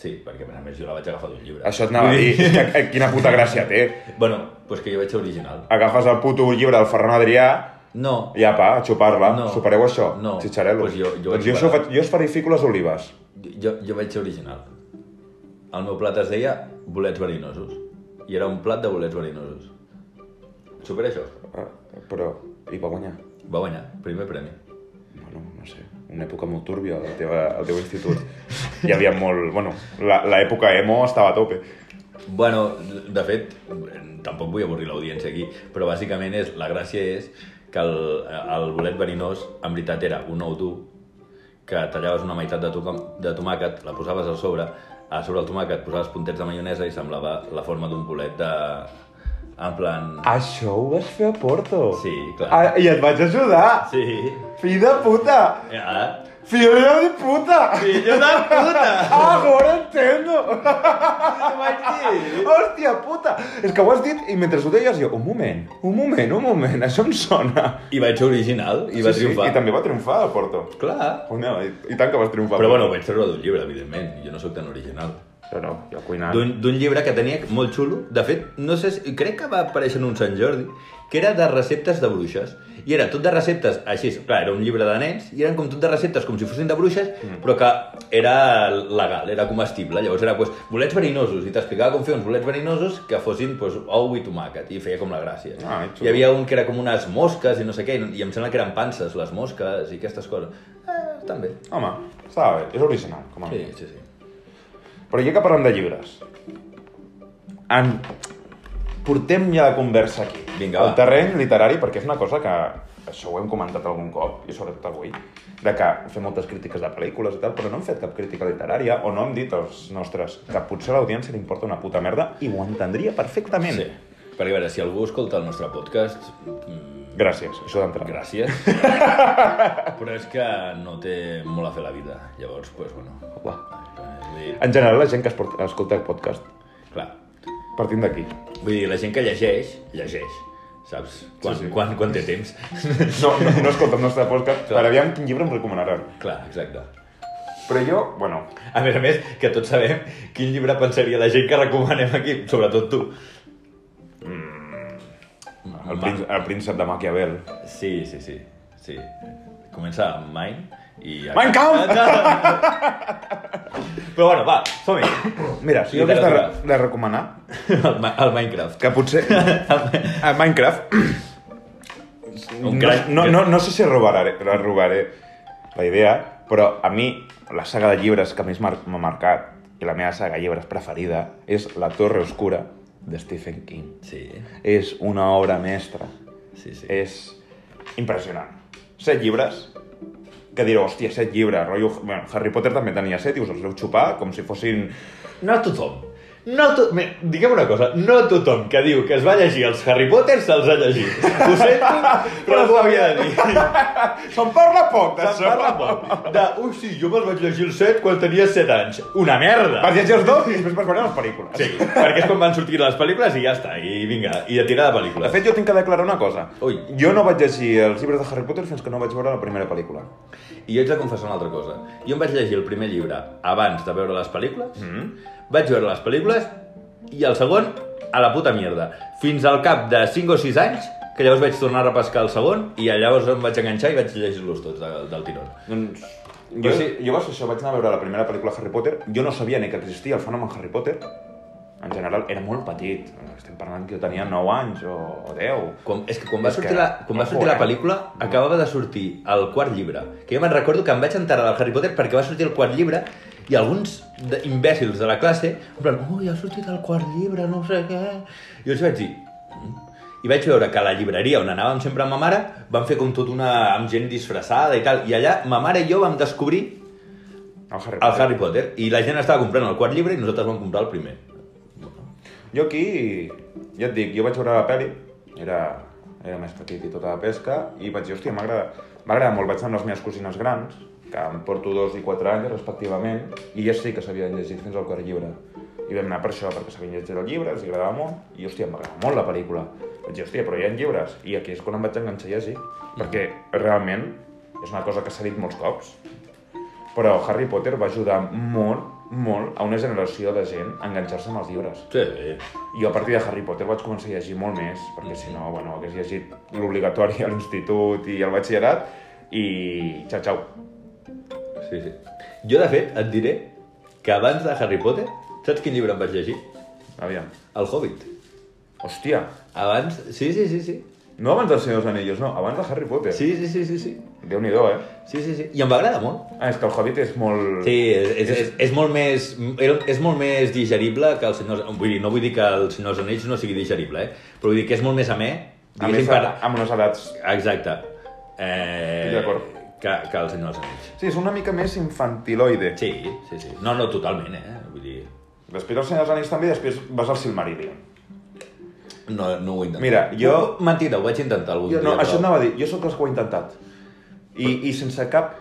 [SPEAKER 1] Sí, perquè a més jo la vaig agafar d'un llibre.
[SPEAKER 2] Això et anava a
[SPEAKER 1] Vull
[SPEAKER 2] dir, que, que, quina puta gràcia té.
[SPEAKER 1] Bueno, doncs pues que jo vaig ser original.
[SPEAKER 2] Agafes el puto llibre del Ferran Adrià,
[SPEAKER 1] No,
[SPEAKER 2] I apa, a xupar-la.
[SPEAKER 1] No.
[SPEAKER 2] No. Supereu això?
[SPEAKER 1] No.
[SPEAKER 2] Xitxarel·lo.
[SPEAKER 1] Pues jo- jo
[SPEAKER 2] doncs
[SPEAKER 1] he
[SPEAKER 2] jo,
[SPEAKER 1] superat.
[SPEAKER 2] sofa- jo esfarifico les olives.
[SPEAKER 1] jo, jo vaig ser original. El meu plat es deia bolets verinosos. I era un plat de bolets verinosos. Supera això.
[SPEAKER 2] Ah, Però... I va guanyar.
[SPEAKER 1] Va guanyar, primer premi.
[SPEAKER 2] Bueno, no sé. Una època molt túrbia, la teva, el teu institut. Hi havia molt... Bueno, la- l'època emo estava a tope.
[SPEAKER 1] Bueno, de fet, tampoc vull avorrir l'audiència aquí, però bàsicament és, la gràcia és que el, el bolet verinós en veritat era un ou dur que tallaves una meitat de, to de tomàquet, la posaves a sobre, a sobre el tomàquet posaves puntets de maionesa i semblava la forma d'un bolet de... en plan...
[SPEAKER 2] Això ho vas fer a Porto.
[SPEAKER 1] Sí, clar.
[SPEAKER 2] Ah, I et vaig ajudar.
[SPEAKER 1] Sí,
[SPEAKER 2] Fill de puta.
[SPEAKER 1] ja.
[SPEAKER 2] Fill de puta.
[SPEAKER 1] Fillo de puta!
[SPEAKER 2] Ah, ahora entendo.
[SPEAKER 1] T'ho vaig dir!
[SPEAKER 2] Hòstia puta. És que ho has dit i mentre ho deies jo, un moment, un moment, un moment, això em sona.
[SPEAKER 1] I vaig ser original, i va triomfar.
[SPEAKER 2] I també va triomfar a Porto.
[SPEAKER 1] Clar.
[SPEAKER 2] Una, i, I tant que vas triomfar.
[SPEAKER 1] Però bueno, ho vaig treure d'un llibre, evidentment. Jo no sóc tan original.
[SPEAKER 2] No, no, jo cuinant.
[SPEAKER 1] d'un d'un llibre que tenia molt xulo. De fet, no sé si, crec que va aparèixer en un Sant Jordi, que era de receptes de bruixes. I era tot de receptes, així, clar, era un llibre de nens, i eren com tot de receptes com si fossin de bruixes, però que era legal, era comestible. Llavors era, doncs, bolets verinosos, i t'explicava com fer uns bolets verinosos que fossin, doncs, ou i tomàquet, i feia com la gràcia.
[SPEAKER 2] Ah, xulo.
[SPEAKER 1] Hi havia un que era com unes mosques i no sé què, i em sembla que eren panses, les mosques i aquestes coses. Eh, també.
[SPEAKER 2] Home, estava bé, és original, com a
[SPEAKER 1] Sí,
[SPEAKER 2] sí.
[SPEAKER 1] sí, sí.
[SPEAKER 2] Però ja que parlem de llibres, en... portem ja la conversa aquí.
[SPEAKER 1] Vinga,
[SPEAKER 2] El
[SPEAKER 1] va.
[SPEAKER 2] terreny literari, perquè és una cosa que això ho hem comentat algun cop, i sobretot avui, de que fem moltes crítiques de pel·lícules i tal, però no hem fet cap crítica literària, o no hem dit als nostres que potser a l'audiència li importa una puta merda, i ho entendria perfectament.
[SPEAKER 1] Sí. Perquè, a veure, si algú escolta el nostre podcast, mm,
[SPEAKER 2] Gràcies, això d'entrada.
[SPEAKER 1] Gràcies. Però és que no té molt a fer la vida. Llavors, doncs, pues, bueno...
[SPEAKER 2] Uah.
[SPEAKER 1] Vull dir,
[SPEAKER 2] En general, la gent que es porta- escolta el podcast,
[SPEAKER 1] clar,
[SPEAKER 2] partint d'aquí.
[SPEAKER 1] vull dir, la gent que llegeix, llegeix. Saps? Quan, sí,
[SPEAKER 2] Sí, sí.
[SPEAKER 1] sí. quan, quan té temps.
[SPEAKER 2] No, no, no escolta el nostre podcast,
[SPEAKER 1] Clar.
[SPEAKER 2] per aviam quin llibre em recomanaran.
[SPEAKER 1] clar, exacte.
[SPEAKER 2] Però jo, bueno,
[SPEAKER 1] A més a més, que tots sabem quin llibre pensaria la gent que recomanem aquí, sobretot tu.
[SPEAKER 2] el, prín, el príncep de Maquiavel.
[SPEAKER 1] Sí, sí, sí. sí. Comença amb mine I... Ah,
[SPEAKER 2] Mein Kampf!
[SPEAKER 1] Però bueno, va, som-hi.
[SPEAKER 2] Mira, si jo hagués de,
[SPEAKER 1] Literatura.
[SPEAKER 2] de recomanar,
[SPEAKER 1] El, Ma- el Minecraft.
[SPEAKER 2] que potser... A Minecraft...
[SPEAKER 1] Un crac
[SPEAKER 2] no,
[SPEAKER 1] que-
[SPEAKER 2] no, no sé si robaré, la robaré la idea, però a mi la saga de llibres que més mar- m'ha marcat i la meva saga de llibres preferida és La Torre Oscura de Stephen King.
[SPEAKER 1] Sí,
[SPEAKER 2] És una obra mestra.
[SPEAKER 1] sí, sí.
[SPEAKER 2] És impressionant. Set llibres, que direu, hòstia, set llibres, rotllo... Bueno, Harry Potter també tenia set i us els veu xupar com si fossin...
[SPEAKER 1] No tothom. No to... Mira, diguem una cosa, no tothom que diu que es va llegir els Harry Potter se'ls ha llegit. Ho sento, però ho havia de dir.
[SPEAKER 2] Se'n parla poc,
[SPEAKER 1] Se'n parla molt. De, ui, sí, jo me'ls vaig llegir els 7 quan tenia 7 anys. Una merda!
[SPEAKER 2] Vas llegir els dos i després vas veure les pel·lícules.
[SPEAKER 1] Sí, perquè és quan van sortir les pel·lícules i ja està, i vinga, i de tirar de
[SPEAKER 2] De
[SPEAKER 1] pel·lícules.
[SPEAKER 2] fet, jo tinc que declarar una cosa.
[SPEAKER 1] Ui.
[SPEAKER 2] Jo no vaig llegir els llibres de Harry Potter fins que no vaig veure la primera pel·lícula.
[SPEAKER 1] I jo haig de confessar una altra cosa. Jo em vaig llegir el primer llibre abans de veure les pel·lícules, mm -hmm. vaig veure les pel·lícules i el segon a la puta mierda. Fins al cap de 5 o 6 anys, que llavors vaig tornar a repescar el segon i llavors em vaig enganxar i vaig llegir-los tots del, del tirón.
[SPEAKER 2] Doncs... Jo, sí, jo vaig, això, vaig anar a veure la primera pel·lícula de Harry Potter. Jo no sabia ni que existia el fenomen Harry Potter. En general, era molt petit. Estem parlant que jo tenia 9 anys o 10.
[SPEAKER 1] Quan, és que quan va
[SPEAKER 2] És que-
[SPEAKER 1] sortir, la, quan va
[SPEAKER 2] no
[SPEAKER 1] sortir la
[SPEAKER 2] joder.
[SPEAKER 1] pel·lícula acabava de sortir el quart llibre. Que jo me'n recordo que em vaig enterar del Harry Potter perquè va sortir el quart llibre i alguns de- imbècils de la classe en plan, ui, ha sortit el quart llibre, no sé què... I jo els vaig dir... "Mm". I vaig veure que a la llibreria on anàvem sempre amb ma mare van fer com tot una... amb gent disfressada i tal. I allà ma mare i jo vam descobrir
[SPEAKER 2] El Harry
[SPEAKER 1] el Harry Potter i la gent estava comprant el quart llibre i nosaltres vam comprar el primer.
[SPEAKER 2] Jo aquí, ja et dic, jo vaig veure la pel·li, era, era més petit i tota la pesca, i vaig dir, hòstia, m'agrada m'agrada molt, vaig anar amb les meves cosines grans, que em porto dos i quatre anys, respectivament, i ja sí que s'havien llegit fins al quart llibre. I vam anar per això, perquè s'havien llegit el llibre, els agradava molt, i hòstia, m'agrada molt la pel·lícula. Vaig dir, hòstia, però hi ha llibres, i aquí és quan em vaig enganxar a llegir, perquè realment és una cosa que s'ha dit molts cops, però Harry Potter va ajudar molt, molt a una generació de gent a enganxar-se amb els llibres.
[SPEAKER 1] Sí,
[SPEAKER 2] Jo a partir de Harry Potter vaig començar a llegir molt més, perquè si no, bueno, hagués llegit l'obligatori a l'institut i al batxillerat, i xau, xau.
[SPEAKER 1] Sí, sí. Jo, de fet, et diré que abans de Harry Potter, saps quin llibre em vaig llegir?
[SPEAKER 2] Aviam.
[SPEAKER 1] El Hobbit.
[SPEAKER 2] Hòstia,
[SPEAKER 1] Abans... Sí, sí, sí, sí.
[SPEAKER 2] no abans del Senyor dels Anillos, no, abans de Harry Potter.
[SPEAKER 1] Sí, sí, sí, sí, sí.
[SPEAKER 2] Déu-n'hi-do, eh?
[SPEAKER 1] Sí, sí, sí. I em va agradar molt.
[SPEAKER 2] Ah, és que el Hobbit és molt...
[SPEAKER 1] Sí, és, és, és, és, molt més, és molt més digerible que el Senyor... Vull dir, no vull dir que el Senyor dels Anells no sigui digerible, eh? Però vull dir que és molt més amè.
[SPEAKER 2] A més,
[SPEAKER 1] diguéssim,
[SPEAKER 2] a, amb unes edats...
[SPEAKER 1] Exacte. Eh,
[SPEAKER 2] Estic d'acord.
[SPEAKER 1] Que, que el Senyor dels Anells.
[SPEAKER 2] Sí, és una mica més infantiloide.
[SPEAKER 1] Sí, sí, sí. No, no, totalment, eh? Vull dir...
[SPEAKER 2] Després el Senyor dels Anillos també, i després vas al Silmarillion.
[SPEAKER 1] No, no ho he intentat.
[SPEAKER 2] Mira, jo-
[SPEAKER 1] Mentida, ho vaig intentar algun
[SPEAKER 2] Jo,
[SPEAKER 1] dia.
[SPEAKER 2] no,
[SPEAKER 1] però-
[SPEAKER 2] això anava a dir, jo sóc els que ho he intentat. I, i sense cap,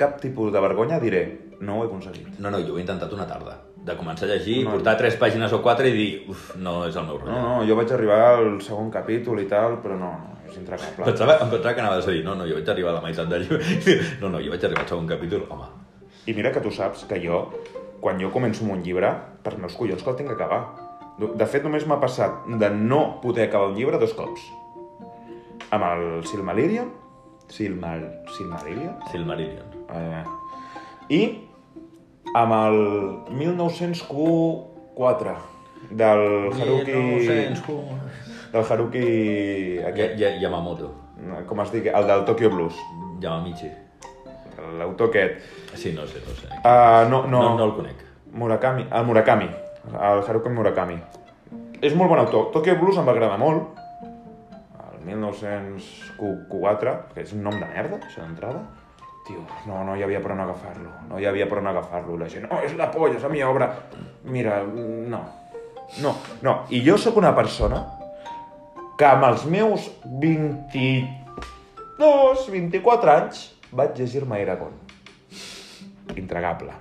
[SPEAKER 2] cap tipus de vergonya diré, no ho he aconseguit.
[SPEAKER 1] No, no, jo ho he intentat una tarda. De començar a llegir,
[SPEAKER 2] No.
[SPEAKER 1] no. portar tres pàgines o quatre i dir, uf, no és el meu
[SPEAKER 2] No,
[SPEAKER 1] rotllo.
[SPEAKER 2] no, jo vaig arribar al segon capítol i tal, però no, no, és intracable.
[SPEAKER 1] Pensava, em pensava que anaves a dir, no, no, jo vaig arribar a la meitat del llibre. No, no, jo vaig arribar al segon capítol, home.
[SPEAKER 2] I mira que tu saps que jo, quan jo començo amb un llibre, per meus collons que el tinc que acabar. Du- De fet, només m'ha passat de no poder acabar un llibre dos cops. Amb el Silmarillion, Silmar... Silmarillion?
[SPEAKER 1] Silmarillion.
[SPEAKER 2] Eh, I amb el 1904 del Haruki...
[SPEAKER 1] 1900.
[SPEAKER 2] Del Haruki...
[SPEAKER 1] Ja,
[SPEAKER 2] Aquest,
[SPEAKER 1] ja, Yamamoto.
[SPEAKER 2] com es digui? El del Tokyo Blues.
[SPEAKER 1] Yamamichi.
[SPEAKER 2] L'autor aquest.
[SPEAKER 1] Sí, no sé, no sé.
[SPEAKER 2] Uh, no, no,
[SPEAKER 1] No, no el conec.
[SPEAKER 2] Murakami, el Murakami, el Haruki Murakami. És molt bon autor. Tokyo Blues em va agradar molt. El 1904, que és un nom de merda, això d'entrada. Tio, no, no hi havia per on agafar-lo. No hi havia per on agafar-lo. La gent, oh, és la polla, és la meva obra. Mira, no. No, no. I jo sóc una persona que amb els meus 22, 24 anys vaig llegir-me Eragon. Intragable.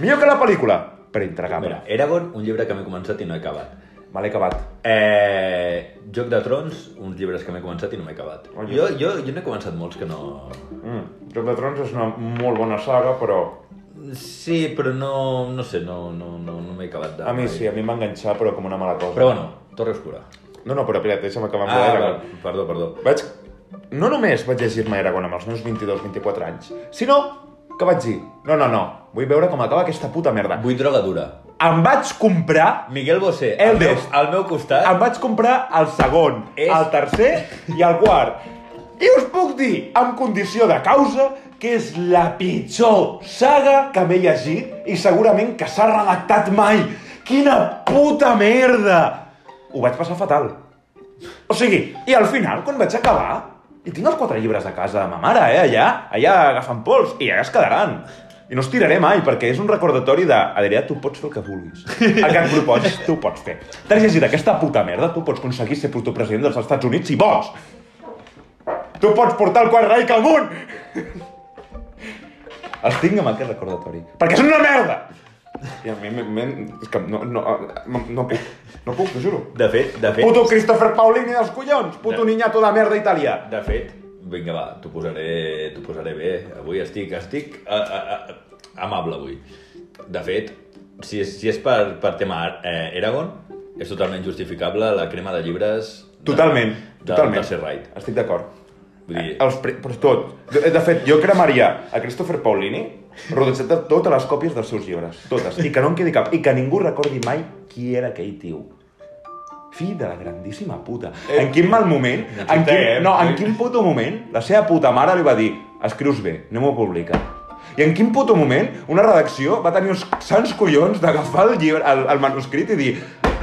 [SPEAKER 2] Millor que la pel·lícula, però intragable.
[SPEAKER 1] Mira, Eragon, un llibre que m'he començat i no he acabat.
[SPEAKER 2] Me l'he acabat.
[SPEAKER 1] Eh, Joc de Trons, uns llibres que m'he començat i no m'he acabat.
[SPEAKER 2] Oh,
[SPEAKER 1] Jo,
[SPEAKER 2] jo-
[SPEAKER 1] jo, jo n'he començat molts que no...
[SPEAKER 2] Mm. Joc de Trons és una molt bona saga, però
[SPEAKER 1] Sí, però no, no sé, no, no, no, no m'he acabat de...
[SPEAKER 2] a mi sí, a mi em va enganxar, però com una mala cosa.
[SPEAKER 1] Però bueno, Torre Oscura.
[SPEAKER 2] No, no, però espera't, deixa'm acabar amb
[SPEAKER 1] Ah,
[SPEAKER 2] l'Eragon.
[SPEAKER 1] va, perdó, perdó.
[SPEAKER 2] Vaig... no només vaig llegir-me Eragon amb els meus 22-24 anys, sinó que vaig dir, no, no, no, vull veure com acaba aquesta puta merda.
[SPEAKER 1] Vull droga dura.
[SPEAKER 2] Em vaig comprar,
[SPEAKER 1] Miguel Bosé, al meu,
[SPEAKER 2] Eldest.
[SPEAKER 1] al meu costat,
[SPEAKER 2] em vaig comprar el segon,
[SPEAKER 1] És-
[SPEAKER 2] el tercer i el quart. I us puc dir, amb condició de causa, que és la pitjor saga que m'he llegit i segurament que s'ha redactat mai. Quina puta merda! Ho vaig passar fatal. O sigui, i al final, quan vaig acabar, i tinc els quatre llibres a casa de ma mare, eh, allà, allà agafant pols, i allà es quedaran. I no els tiraré mai, perquè és un recordatori de, Adrià, tu pots fer el que vulguis. El que et proposis, tu ho pots fer. T'has llegit aquesta puta merda, tu pots aconseguir ser protopresident dels Estats Units si vols. Tu pots portar el quart Reich al món! Els tinc amb aquest recordatori. Perquè és una merda! I a mi, me- me- és que no, no, no, no puc, no puc, t'ho juro.
[SPEAKER 1] de fet, de fet...
[SPEAKER 2] Puto Christopher Paulini dels collons! Puto niñato de merda italià!
[SPEAKER 1] De fet, vinga va, t'ho posaré, t'ho posaré bé. Avui estic, estic a, a, a, amable avui. De fet, si és, si és per, per tema eh, Eragon, és totalment justificable la crema de llibres... De,
[SPEAKER 2] Totalment,
[SPEAKER 1] de,
[SPEAKER 2] totalment.
[SPEAKER 1] Del tercer raid.
[SPEAKER 2] Estic d'acord.
[SPEAKER 1] Vull dir,
[SPEAKER 2] Eh, Els pre... Però és tot. De, de fet, jo cremaria a Christopher Paulini rodejat de totes les còpies dels seus llibres. Totes. I que no en quedi cap. I que ningú recordi mai qui era aquell tio. Fill de la grandíssima puta. En quin mal moment, en quin,
[SPEAKER 1] eh?
[SPEAKER 2] no, en quin puto moment, la seva puta mare li va dir escrius bé, anem-ho a publicar. I en quin puto moment una redacció va tenir uns sants collons d'agafar el, llibre, el, el manuscrit i dir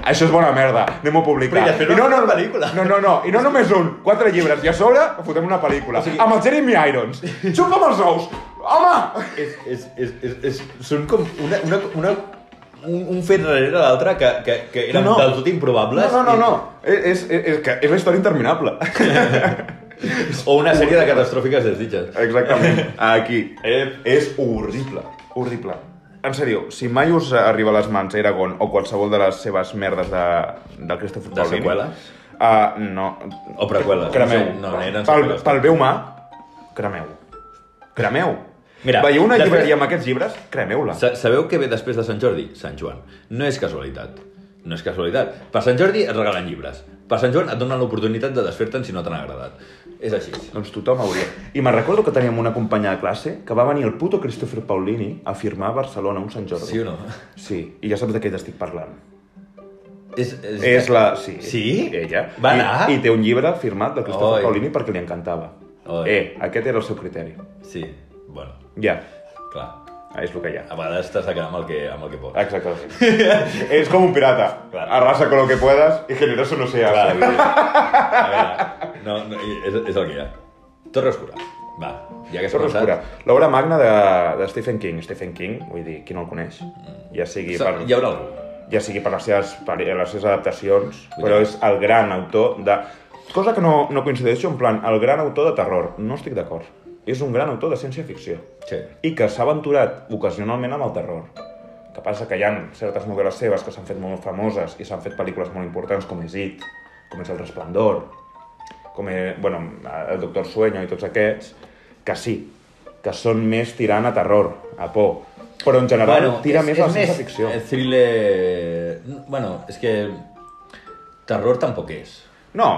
[SPEAKER 2] això és bona merda, anem-ho a publicar.
[SPEAKER 1] Però i de fer-ho en una pel·lícula.
[SPEAKER 2] No, no, no, i no només un, quatre llibres, i a sobre fotem una pel·lícula. O sigui... Amb el Jeremy Irons. Xupa'm els ous! Home!
[SPEAKER 1] és, és, és, és, és, són com una, una, una, un, un fet darrere l'altre que, que, que eren
[SPEAKER 2] No,
[SPEAKER 1] no,
[SPEAKER 2] no.
[SPEAKER 1] del tot improbables.
[SPEAKER 2] No, no, no, no. Eh,
[SPEAKER 1] i-
[SPEAKER 2] És, és, és, que és la història interminable.
[SPEAKER 1] O una sèrie de catastròfiques desitges.
[SPEAKER 2] Exactament. Aquí.
[SPEAKER 1] Eh,
[SPEAKER 2] És horrible. Horrible. En sèrio, si mai us arriba a les mans Eragon o qualsevol de les seves merdes de, del Christopher
[SPEAKER 1] De
[SPEAKER 2] Paulini...
[SPEAKER 1] seqüeles?
[SPEAKER 2] Uh, no,
[SPEAKER 1] O preqüeles.
[SPEAKER 2] Cremeu.
[SPEAKER 1] No, sé, no eren
[SPEAKER 2] pel,
[SPEAKER 1] seqüeles.
[SPEAKER 2] pel bé humà, cremeu. Cremeu.
[SPEAKER 1] Mira,
[SPEAKER 2] Veieu una
[SPEAKER 1] de fet-
[SPEAKER 2] llibreria amb aquests llibres? Cremeu-la.
[SPEAKER 1] Sa- Sabeu què ve després de Sant Jordi? Sant Joan. No és casualitat. No és casualitat. Per Sant Jordi et regalen llibres. Per Sant Joan et donen l'oportunitat de desfer-te'n si no t'han agradat. És així.
[SPEAKER 2] Doncs tothom hauria. I me'n recordo que teníem una companya de classe que va venir el puto Christopher Paulini a firmar a Barcelona un Sant Jordi.
[SPEAKER 1] Sí o no?
[SPEAKER 2] Sí, i ja saps de què t'estic parlant.
[SPEAKER 1] És, és...
[SPEAKER 2] És la... Sí.
[SPEAKER 1] Sí?
[SPEAKER 2] Ella.
[SPEAKER 1] Va anar?
[SPEAKER 2] I, I té un llibre firmat de Christopher
[SPEAKER 1] Oi.
[SPEAKER 2] Paulini perquè li encantava.
[SPEAKER 1] Oi.
[SPEAKER 2] Eh, aquest era el seu criteri.
[SPEAKER 1] Oh, Sí. Bueno,
[SPEAKER 2] Ja,
[SPEAKER 1] clar.
[SPEAKER 2] ah, és el que hi ha.
[SPEAKER 1] A vegades t'has de quedar amb el que, amb el que pots.
[SPEAKER 2] Exactament. és com un pirata.
[SPEAKER 1] Clar.
[SPEAKER 2] Arrasa con lo que puedas y generoso no seas.
[SPEAKER 1] Clar, vull dir, a veure, no, no, és, és el que hi ha. Torre Oscura. Va, ja que has
[SPEAKER 2] Torre Oscura,
[SPEAKER 1] començat...
[SPEAKER 2] l'obra magna de, de Stephen King. Stephen King, vull dir, qui no el coneix? Ja sigui per,
[SPEAKER 1] Mm. Sa- Hi haurà algú.
[SPEAKER 2] ja sigui per, les, seves, per les seves adaptacions,
[SPEAKER 1] Vull
[SPEAKER 2] però
[SPEAKER 1] dir-
[SPEAKER 2] és el gran autor de... Cosa que no, no coincideixo, en plan, el gran autor de terror. No estic d'acord. És un gran autor de ciència-ficció.
[SPEAKER 1] Sí.
[SPEAKER 2] I que s'ha aventurat ocasionalment amb el terror. Que passa que hi ha certes novel·les seves que s'han fet molt famoses i s'han fet pel·lícules molt importants, com és It, com és El Resplendor, com és, bueno, El Doctor Sueño i tots aquests, que sí, que són més tirant a terror, a por. Però en general tira més a la ciència-ficció.
[SPEAKER 1] eh, Thriller... no, Bueno, és que... Terror tampoc és.
[SPEAKER 2] No.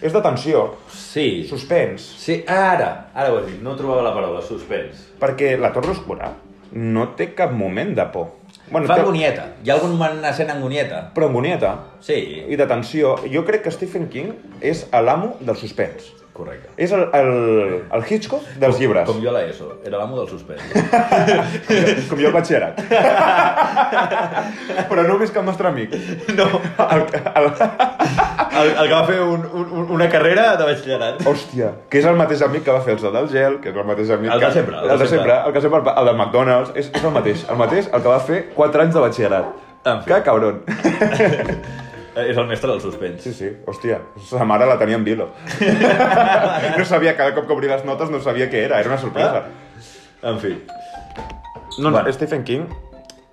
[SPEAKER 2] És de tensió,
[SPEAKER 1] Sí.
[SPEAKER 2] suspens,
[SPEAKER 1] Sí, ara, ara ho has dit, no trobava la paraula, suspens.
[SPEAKER 2] perquè la Torre Oscura no té cap moment de por. Bueno,
[SPEAKER 1] Fa
[SPEAKER 2] té-
[SPEAKER 1] angonieta, hi ha algun moment sent angonieta?
[SPEAKER 2] però angonieta
[SPEAKER 1] Sí,
[SPEAKER 2] i de tensió. Jo crec que Stephen King és l'amo del suspens.
[SPEAKER 1] correcte.
[SPEAKER 2] És el, el, el Hitchcock dels llibres,
[SPEAKER 1] Com
[SPEAKER 2] com,
[SPEAKER 1] jo a l'ESO, era l'amo del suspens.
[SPEAKER 2] com jo al batxillerat. però no més que el nostre amic. No. El, el,
[SPEAKER 1] El, el que va fer un, un, una carrera de batxillerat.
[SPEAKER 2] hòstia, que és el mateix amic que va fer els de del gel, que és el mateix amic
[SPEAKER 1] El
[SPEAKER 2] que...
[SPEAKER 1] de sempre,
[SPEAKER 2] El, de sempre, el que sempre, el de McDonald's, és, és el mateix. El mateix, el que va fer 4 anys de batxillerat.
[SPEAKER 1] En fi.
[SPEAKER 2] Que cabron.
[SPEAKER 1] És el mestre del suspens.
[SPEAKER 2] Sí, sí, hòstia, sa mare la tenia en vilo. no sabia, cada cop que obria les notes no sabia què era, era una sorpresa.
[SPEAKER 1] En fi.
[SPEAKER 2] No,
[SPEAKER 1] Bueno.
[SPEAKER 2] bueno. Stephen King,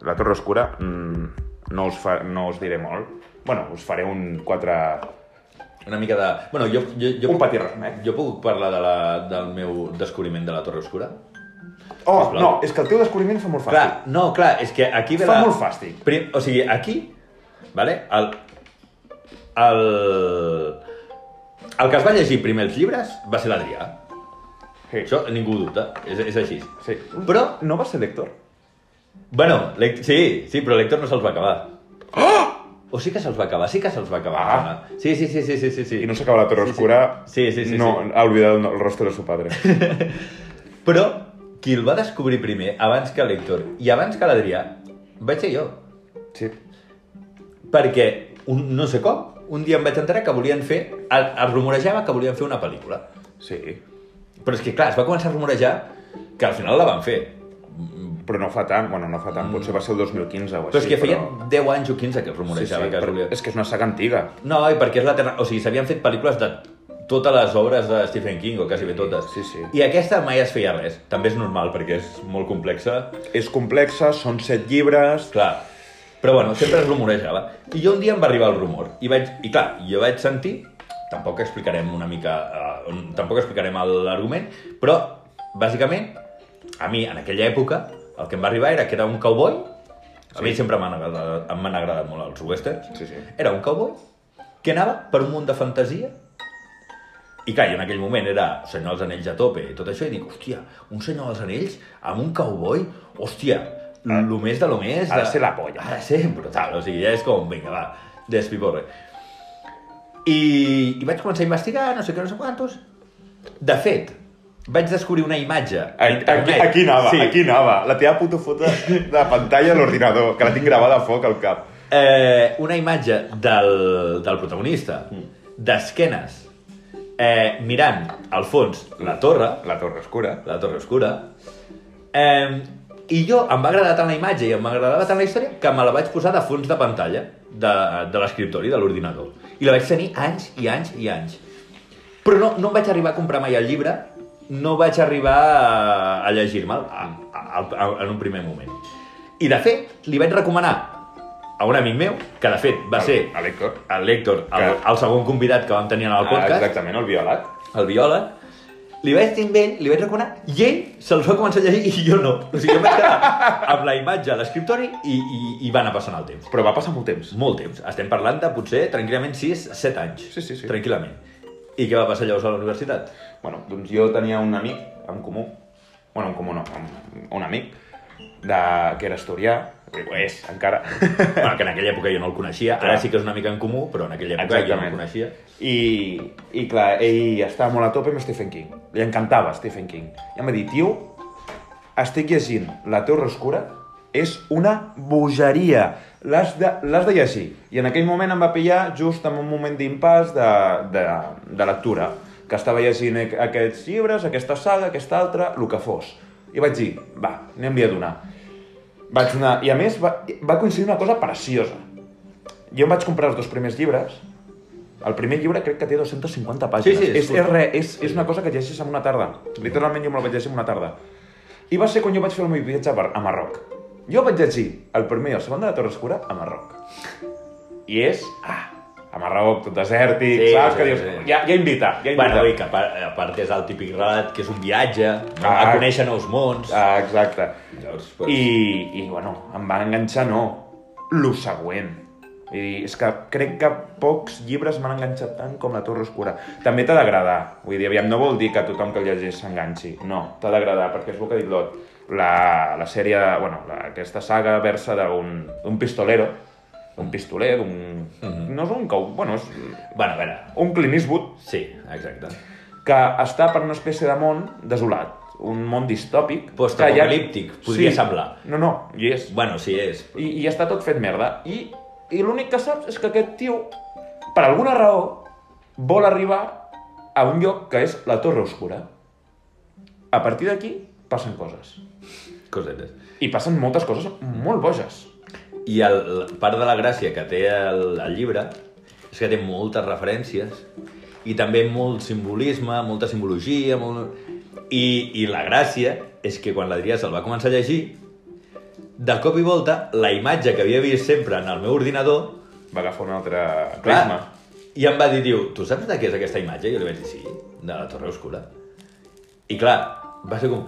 [SPEAKER 2] La Torre Oscura, mm, no, us fa, no us diré molt. Bueno, us faré un 4...
[SPEAKER 1] Una mica de... Bueno, jo... jo, jo
[SPEAKER 2] Un eh? petit remet.
[SPEAKER 1] Jo puc parlar de la, del meu descobriment de la Torre Oscura?
[SPEAKER 2] Oh,
[SPEAKER 1] Sisplau.
[SPEAKER 2] no, és que el teu descobriment fa molt fàstic.
[SPEAKER 1] Clar, no, clar, és que aquí ve
[SPEAKER 2] Fa
[SPEAKER 1] la...
[SPEAKER 2] molt fàstic.
[SPEAKER 1] Prim... O sigui, aquí, vale? El... El... El que es va llegir primer els llibres va ser l'Adrià.
[SPEAKER 2] Sí.
[SPEAKER 1] Això ningú ho dubta, és, és així.
[SPEAKER 2] Sí.
[SPEAKER 1] Però,
[SPEAKER 2] No va ser lector?
[SPEAKER 1] bueno, l'Hec- sí, sí, però l'Hector no se'ls va acabar. Oh! O sí que se'ls va acabar, sí que se'ls va acabar.
[SPEAKER 2] Ah.
[SPEAKER 1] em sembla. Sí, sí, sí, sí, sí, sí, sí.
[SPEAKER 2] Y no se acaba la torre
[SPEAKER 1] Sí, sí.
[SPEAKER 2] oscura.
[SPEAKER 1] Sí, sí, sí,
[SPEAKER 2] No,
[SPEAKER 1] sí.
[SPEAKER 2] ha olvidado el rostro de su padre.
[SPEAKER 1] Però qui el va descobrir primer, abans que l'Hector i abans que l'Adrià, vaig ser jo.
[SPEAKER 2] Sí.
[SPEAKER 1] Perquè, un, no sé com, un dia em vaig enterar que volien fer... Es, es rumorejava que volien fer una pel·lícula.
[SPEAKER 2] Sí.
[SPEAKER 1] Però és que, clar, es va començar a rumorejar que al final la van fer.
[SPEAKER 2] Però no fa tant, bueno, no fa tant, potser va ser el 2015 o així.
[SPEAKER 1] Mm. Però és que feien
[SPEAKER 2] però-
[SPEAKER 1] 10 anys o 15 que es
[SPEAKER 2] Sí, sí,
[SPEAKER 1] rumorejava que es
[SPEAKER 2] però
[SPEAKER 1] volia...
[SPEAKER 2] és que és una saga antiga.
[SPEAKER 1] No, i perquè és la terra... O sigui, s'havien fet pel·lícules de totes les obres de Stephen King, o quasi bé totes.
[SPEAKER 2] Sí, sí.
[SPEAKER 1] I aquesta mai es feia res. També és normal, perquè és molt complexa.
[SPEAKER 2] És complexa, són set llibres...
[SPEAKER 1] Clar. Però bueno, sempre es rumorejava. I jo un dia em va arribar el rumor. I, vaig... I clar, jo vaig sentir... Tampoc explicarem una mica... eh, un- tampoc explicarem el- l'argument, però, bàsicament, a mi, en aquella època, el que em va arribar era que era un cowboy... A mi sempre m'han agradat, m'han agradat molt els westerns.
[SPEAKER 2] Sí, sí.
[SPEAKER 1] Era un cowboy que anava per un món de fantasia i clar, jo en aquell moment era Senyor dels Anells a tope i tot això, i dic, hòstia, un Senyor dels Anells amb un cowboy, hòstia, lo més de lo més...
[SPEAKER 2] ha de
[SPEAKER 1] de-
[SPEAKER 2] ser la polla.
[SPEAKER 1] Ha de ser brutal, o sigui, ja és com, vinga, va, despiporre. I, I vaig començar a investigar, no sé què, no sé quantos. De fet, vaig descobrir una imatge. a
[SPEAKER 2] Ai, Aquí,
[SPEAKER 1] internet.
[SPEAKER 2] aquí anava, sí. aquí anava. La teva puto foto de la pantalla de l'ordinador, que la tinc gravada a foc al cap.
[SPEAKER 1] eh, una imatge del, del protagonista d'esquenes eh, mirant al fons la torre,
[SPEAKER 2] La torre oscura.
[SPEAKER 1] la torre oscura eh, i jo em va agradar tant la imatge i em agradava tant la història que me la vaig posar de fons de pantalla de, de l'escriptori, de l'ordinador i la vaig tenir anys i anys i anys però no, no em vaig arribar a comprar mai el llibre no vaig arribar a, a llegir-me'l a- a- a- en un primer moment i de fet li vaig recomanar a un amic meu, que de fet va ser
[SPEAKER 2] A l'Hector.
[SPEAKER 1] el Lector, el,
[SPEAKER 2] Que- Ah,
[SPEAKER 1] el segon convidat que vam tenir en el podcast,
[SPEAKER 2] exactament, el violat.
[SPEAKER 1] el biòleg, li vaig dir amb ell, li vaig recomanar, i ell se'ls va començar a llegir i jo no. O sigui, em vaig quedar amb la imatge a l'escriptori i, i, i va anar passant el temps.
[SPEAKER 2] Però va passar molt temps.
[SPEAKER 1] Molt temps. Estem parlant de potser tranquil·lament 6-7 anys.
[SPEAKER 2] Sí, sí, sí.
[SPEAKER 1] Tranquil·lament. I què va passar llavors a la universitat?
[SPEAKER 2] Bueno, doncs jo tenia un amic en comú, bueno, en comú no, un, un amic, de, que era asturià, ho és encara,
[SPEAKER 1] bueno, que en aquella època jo no el coneixia, ara
[SPEAKER 2] Clar.
[SPEAKER 1] sí que és una mica en comú, però en aquella època jo no
[SPEAKER 2] Exactament.
[SPEAKER 1] el coneixia.
[SPEAKER 2] i, i clar, ell estava molt a tope amb Stephen King, li encantava Stephen King, i em va dir, tio, estic llegint La Torre Oscura, és una bogeria, l'has de, l'has de llegir. I en aquell moment em va pillar just en un moment d'impàs de, de, de lectura, que estava llegint aqu- aquests llibres, aquesta saga, aquesta altra, el que fos. I vaig dir, va, anem-li a donar. Vaig donar, i a més va, va coincidir una cosa preciosa. Jo em vaig comprar els dos primers llibres, el primer llibre crec que té 250 pàgines.
[SPEAKER 1] Sí, sí,
[SPEAKER 2] és,
[SPEAKER 1] és
[SPEAKER 2] és, re, és, és una cosa que et llegeixes en una tarda. Literalment jo me la vaig llegir en una tarda. I va ser quan jo vaig fer el meu viatge a, Bar- a Marroc. Jo vaig llegir el primer i el segon de la Torre Oscura a Marroc. I és... Ah, a Marroc, tot desèrtic,
[SPEAKER 1] Sí,
[SPEAKER 2] saps?
[SPEAKER 1] sí,
[SPEAKER 2] que dius,
[SPEAKER 1] sí.
[SPEAKER 2] ja, ja invita, ja invita.
[SPEAKER 1] Bueno, i que a part, a part és el típic relat, que és un viatge, no?
[SPEAKER 2] Ah.
[SPEAKER 1] a conèixer nous mons. Ah.
[SPEAKER 2] Ah, exacte.
[SPEAKER 1] Llavors,
[SPEAKER 2] Pues...
[SPEAKER 1] Doncs.
[SPEAKER 2] I, I, bueno, em va enganxar, no. Lo següent. Vull dir, és que crec que pocs llibres m'han enganxat tant com La Torre Oscura. També t'ha d'agradar. Vull dir, aviam, no vol dir que tothom que el llegeix s'enganxi. No, t'ha d'agradar, perquè és el que ha dit l'Ot. La, la sèrie, bueno, la, aquesta saga versa d'un d'un pistolero, un pistoler, d'un...
[SPEAKER 1] Mhm.
[SPEAKER 2] No és un cau... Bueno, és
[SPEAKER 1] Bueno, a veure,
[SPEAKER 2] un Clint Eastwood
[SPEAKER 1] sí, exacte.
[SPEAKER 2] que està per una espècie de món desolat, un món distòpic...
[SPEAKER 1] Postapocalíptic,
[SPEAKER 2] que
[SPEAKER 1] podria semblar.
[SPEAKER 2] No, no, hi és.
[SPEAKER 1] Bueno, sí, és.
[SPEAKER 2] I, i està tot fet merda. I, i l'únic que saps és que aquest tio, per alguna raó, vol arribar a un lloc que és la Torre Oscura. A partir d'aquí passen coses.
[SPEAKER 1] Cosetes.
[SPEAKER 2] I passen moltes coses molt boges.
[SPEAKER 1] I el, la part de la gràcia que té el, el llibre és que té moltes referències i també molt simbolisme, molta simbologia, molt... I, i la gràcia és que quan l'Adrià se'l va començar a llegir, de cop i volta, la imatge que havia vist sempre en el meu ordinador,
[SPEAKER 2] Va agafar un altre
[SPEAKER 1] clar,
[SPEAKER 2] prisma.
[SPEAKER 1] i em va dir, diu, tu saps de què és aquesta imatge? I jo li vaig dir, sí, de la Torre Oscura. I clar, va ser com...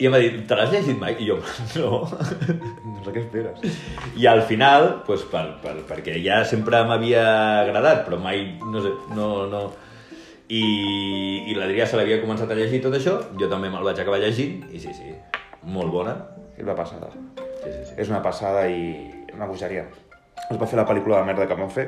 [SPEAKER 1] I em va dir, te l'has llegit mai? I jo, no.
[SPEAKER 2] No sé Doncs què esperes.
[SPEAKER 1] I al final, doncs per, per, perquè ja sempre m'havia agradat, però mai, no sé, no... no... I, i l'Adrià se l'havia començat a llegir tot això, jo també me'l vaig acabar llegint, i sí, sí, molt bona.
[SPEAKER 2] És una passada.
[SPEAKER 1] Sí, sí, sí.
[SPEAKER 2] És una passada i una bogeria. Es va fer la pel·lícula de merda que vam fer.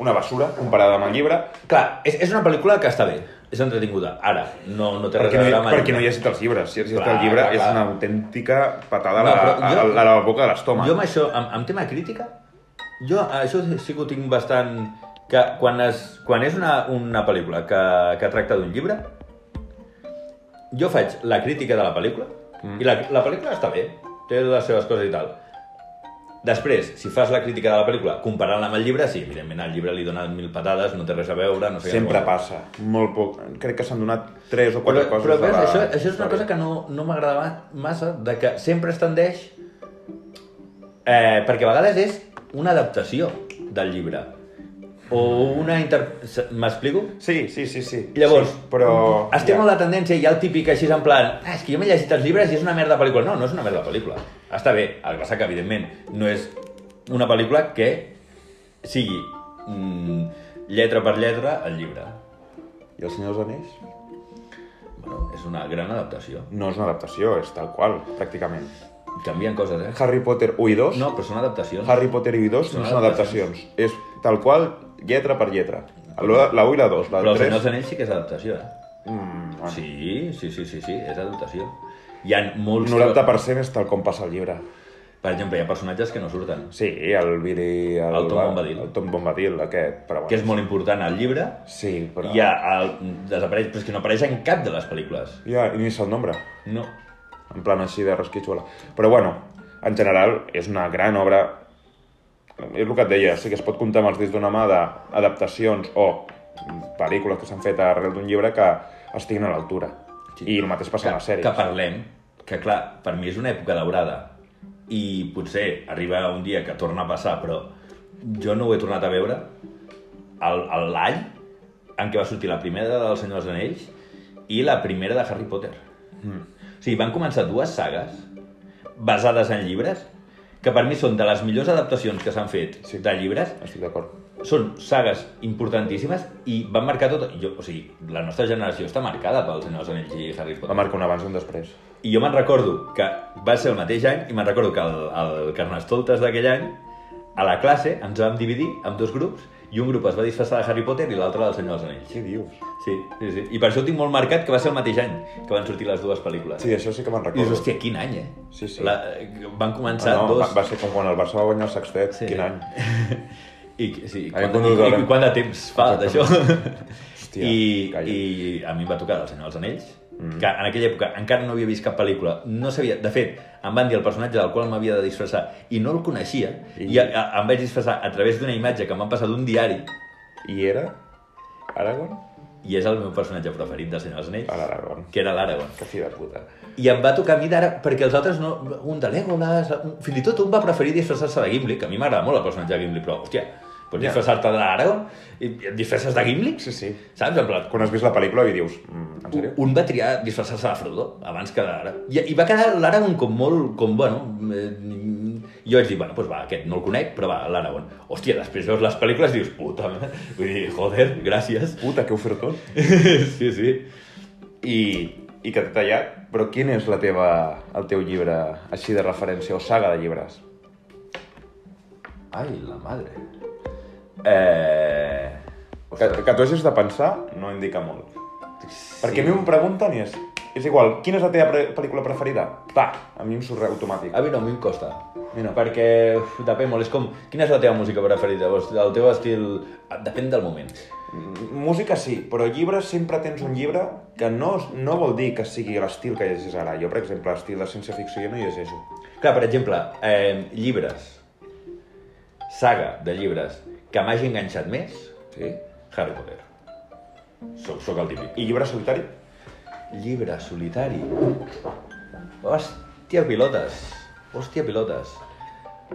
[SPEAKER 2] Una basura, comparada amb el llibre.
[SPEAKER 1] Clar, és, és una pel·lícula que està bé, és entretinguda. Ara, no, no té res
[SPEAKER 2] Perquè
[SPEAKER 1] a
[SPEAKER 2] no,
[SPEAKER 1] veure
[SPEAKER 2] hi,
[SPEAKER 1] amb el
[SPEAKER 2] perquè no hi
[SPEAKER 1] llibre.
[SPEAKER 2] ha llegit els llibres. Si has llegit
[SPEAKER 1] Clar,
[SPEAKER 2] el llibre,
[SPEAKER 1] clar,
[SPEAKER 2] és
[SPEAKER 1] clar.
[SPEAKER 2] una autèntica patada a
[SPEAKER 1] No,
[SPEAKER 2] la,
[SPEAKER 1] però jo-
[SPEAKER 2] a, la, a la boca de l'estómac.
[SPEAKER 1] Jo amb això, amb, amb tema crítica, jo això sí que ho tinc bastant... Que quan, es, quan és una, una pel·lícula que, que tracta d'un llibre, jo faig la crítica de la pel·lícula, mm. i la, la pel·lícula està bé, té les seves coses i tal. Després, si fas la crítica de la pel·lícula comparant-la amb el llibre, sí, evidentment al llibre li donen mil patades, no té res a veure, no sé què. no sé
[SPEAKER 2] Sempre
[SPEAKER 1] què.
[SPEAKER 2] passa. Molt poc. Crec que s'han donat tres o
[SPEAKER 1] Però,
[SPEAKER 2] quatre coses.
[SPEAKER 1] però
[SPEAKER 2] de
[SPEAKER 1] veus,
[SPEAKER 2] la...
[SPEAKER 1] això, això és una
[SPEAKER 2] història.
[SPEAKER 1] cosa que no, no m'agradava massa, de que sempre es tendeix... Eh, perquè a vegades és una adaptació del llibre. O una inter... s- M'explico?
[SPEAKER 2] Sí, sí, sí, sí.
[SPEAKER 1] Llavors,
[SPEAKER 2] sí, però...
[SPEAKER 1] Es té
[SPEAKER 2] ja.
[SPEAKER 1] molt la tendència, hi ha el típic així en plan ah, és que jo m'he llegit els llibres i és una merda de pel·lícula. No, no és una merda de pel·lícula. Està bé, el que passa que, evidentment, no és una pel·lícula que sigui mm, lletra per lletra el llibre.
[SPEAKER 2] I els senyors anells?
[SPEAKER 1] Bueno, és una gran adaptació.
[SPEAKER 2] No és una adaptació, és tal qual, pràcticament.
[SPEAKER 1] Canvien coses, eh?
[SPEAKER 2] Harry Potter 1 i 2?
[SPEAKER 1] No, però són adaptacions.
[SPEAKER 2] Harry Potter i 2 no
[SPEAKER 1] Són
[SPEAKER 2] són adaptacions. És tal qual, lletra per lletra. La la 1 i la 2, la
[SPEAKER 1] Però el
[SPEAKER 2] 3...
[SPEAKER 1] Senyor dels Anells sí que és adaptació, eh?
[SPEAKER 2] Mm, bueno,
[SPEAKER 1] Sí, sí, sí, sí, sí, és adaptació. Hi ha molts...
[SPEAKER 2] 90% és tal com passa el llibre.
[SPEAKER 1] Per exemple, hi ha personatges que no surten,
[SPEAKER 2] Sí, el Billy...
[SPEAKER 1] El Tom Bombadil.
[SPEAKER 2] El Tom Bombadil, aquest, però bueno.
[SPEAKER 1] que és molt important al llibre.
[SPEAKER 2] Sí, però...
[SPEAKER 1] Hi ha el... Desapareix, però és que no apareix en cap de les pel·lícules.
[SPEAKER 2] Ja, i ni se'l nombra.
[SPEAKER 1] No.
[SPEAKER 2] en plan així de rasquitxola. Però bueno, en general és una gran obra, és el que et deia, sí que es pot comptar amb els dits d'una mà d'adaptacions o pel·lícules que s'han fet arrel d'un llibre que estiguin a l'altura.
[SPEAKER 1] Sí.
[SPEAKER 2] I el mateix passa
[SPEAKER 1] Que,
[SPEAKER 2] amb les sèries.
[SPEAKER 1] que parlem, que clar, per mi és una època daurada. I potser arriba un dia que torna a passar, però jo no ho he tornat a veure. El- el- L'any en què va sortir la primera del Senyor dels Anells i la primera de Harry Potter.
[SPEAKER 2] Mm.
[SPEAKER 1] O sigui, van començar dues sagues basades en llibres que per mi són de les millors adaptacions que s'han fet
[SPEAKER 2] Sí.
[SPEAKER 1] de llibres.
[SPEAKER 2] Estic d'acord.
[SPEAKER 1] Són sagues importantíssimes i van marcar tot... Jo, o sigui, la nostra generació està marcada pel Senyor dels Anells i Harry Potter.
[SPEAKER 2] Va marcar un abans i un després.
[SPEAKER 1] I jo me'n recordo que va ser el mateix any i me'n recordo que el, el Carnestoltes d'aquell any a la classe ens vam dividir en dos grups i un grup es va disfressar de Harry Potter i l'altre del Senyor dels Anells.
[SPEAKER 2] Què dius?
[SPEAKER 1] Sí, sí, sí. I per això ho tinc molt marcat que va ser el mateix any que van sortir les dues pel·lícules.
[SPEAKER 2] Sí, això sí que me'n
[SPEAKER 1] I dius,
[SPEAKER 2] recordo.
[SPEAKER 1] hòstia, quin any, eh?
[SPEAKER 2] Sí, sí.
[SPEAKER 1] La, eh, van començar
[SPEAKER 2] Ah, no,
[SPEAKER 1] dos...
[SPEAKER 2] va, va ser com quan el Barça va guanyar el sextet.
[SPEAKER 1] Sí.
[SPEAKER 2] Quin any?
[SPEAKER 1] I, sí, i,
[SPEAKER 2] Ai,
[SPEAKER 1] quant,
[SPEAKER 2] quan
[SPEAKER 1] de,
[SPEAKER 2] ho
[SPEAKER 1] i,
[SPEAKER 2] veurem.
[SPEAKER 1] i quant de temps fa d'això?
[SPEAKER 2] Hòstia,
[SPEAKER 1] I,
[SPEAKER 2] calla.
[SPEAKER 1] I a mi em va tocar El senyor dels anells, mm. que en aquella època encara no havia vist cap pel·lícula, no sabia... De fet, em van dir el personatge del qual m'havia de disfressar i no el coneixia, i,
[SPEAKER 2] I-
[SPEAKER 1] i a, a, em vaig disfressar a través d'una imatge que m'han passat d'un diari
[SPEAKER 2] I era? Aragorn?
[SPEAKER 1] i és el meu personatge preferit del senyor dels
[SPEAKER 2] A
[SPEAKER 1] anells,
[SPEAKER 2] l'Aragorn.
[SPEAKER 1] que era l'Aragorn.
[SPEAKER 2] Que fi de puta.
[SPEAKER 1] I em va tocar a mi d'ara, perquè els altres no... Un de Legolas... Un, fins i tot un va preferir disfressar-se de Gimli, que a mi m'agrada molt el personatge de Gimli, però, hòstia, pots
[SPEAKER 2] Ja.
[SPEAKER 1] disfressar-te d'Aragorn i i et disfresses de Gimli?
[SPEAKER 2] Sí, sí.
[SPEAKER 1] Saps? En plan,
[SPEAKER 2] Quan has vist la pel·lícula i dius... Mm, en
[SPEAKER 1] un,
[SPEAKER 2] sèrio?
[SPEAKER 1] un va triar disfressar-se de Frodo abans que d'ara. I, I va quedar l'Aragorn com molt... Com, bueno... Eh, jo vaig dir, bueno, doncs va, aquest no el conec, però va, l'Aragorn. Hòstia, després veus les pel·lícules i dius, puta, vull dir, joder, gràcies.
[SPEAKER 2] Puta, que heu fet tot?
[SPEAKER 1] sí, sí.
[SPEAKER 2] i, i que t'he tallat, però quin és la teva, el teu llibre així de referència o saga de llibres?
[SPEAKER 1] Ai, la madre. Eh...
[SPEAKER 2] Que, que tu hagis de pensar no indica molt. Perquè a mi em pregunten i és... És igual, quina és la teva pre pel·lícula preferida? Pa! A mi em surt automàtic.
[SPEAKER 1] A mi no, a mi em costa.
[SPEAKER 2] Mira.
[SPEAKER 1] Perquè uf, depèn molt, és com... Quina és la teva música preferida? Llavors, el teu estil... Depèn del moment.
[SPEAKER 2] M- Música sí, però llibres sempre tens un llibre que no, no vol dir que sigui l'estil que llegis ara. Jo, per exemple, l'estil de ciència-ficció jo no llegeixo.
[SPEAKER 1] Clar, per exemple, eh, llibres. Saga de llibres que m'hagi enganxat més,
[SPEAKER 2] Sí?
[SPEAKER 1] Harry Potter. Soc, soc el típic.
[SPEAKER 2] I llibre solitari?
[SPEAKER 1] Llibre solitari. Hòstia, pilotes. Hòstia, pilotes.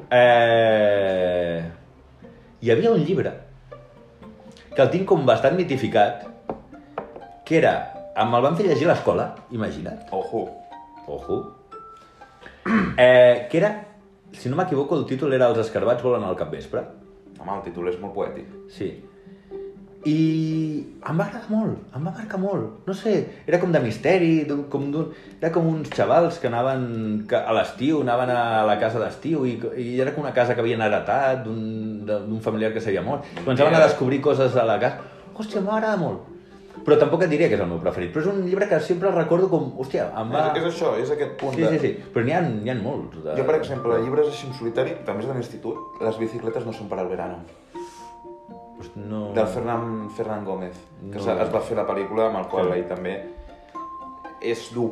[SPEAKER 1] Eh... Hi havia un llibre que el tinc com bastant mitificat, que era... Em el van fer llegir a l'escola, imagina't.
[SPEAKER 2] Ojo.
[SPEAKER 1] Ojo. Eh, que era... Si no m'equivoco, el títol era Els escarbats volen al capvespre.
[SPEAKER 2] Home, el títol és molt poètic.
[SPEAKER 1] Sí. I em va agradar molt, em va marcar molt. No sé, era com de misteri, d'un- com d'un... Era com uns xavals que anaven que a l'estiu, anaven a la casa d'estiu i, i era com una casa que havien heretat d'un de- d'un familiar que s'havia mort. Començaven a descobrir coses a la casa. Hòstia, m'agrada molt. Però tampoc et diria que és el meu preferit. Però és un llibre que sempre recordo com... Hòstia, em va...
[SPEAKER 2] És, és això, és aquest punt
[SPEAKER 1] Sí,
[SPEAKER 2] de...
[SPEAKER 1] sí, sí. Però n'hi ha, n'hi ha molts. De...
[SPEAKER 2] Jo, per exemple, llibres així en solitari, també és de l'institut, Les bicicletes no són per al verano,
[SPEAKER 1] Hosti, No...
[SPEAKER 2] del Fernan, Fernan Gómez,
[SPEAKER 1] Mm.
[SPEAKER 2] que
[SPEAKER 1] No.
[SPEAKER 2] no. es va fer la pel·lícula amb el qual
[SPEAKER 1] Sí.
[SPEAKER 2] ell també és dur.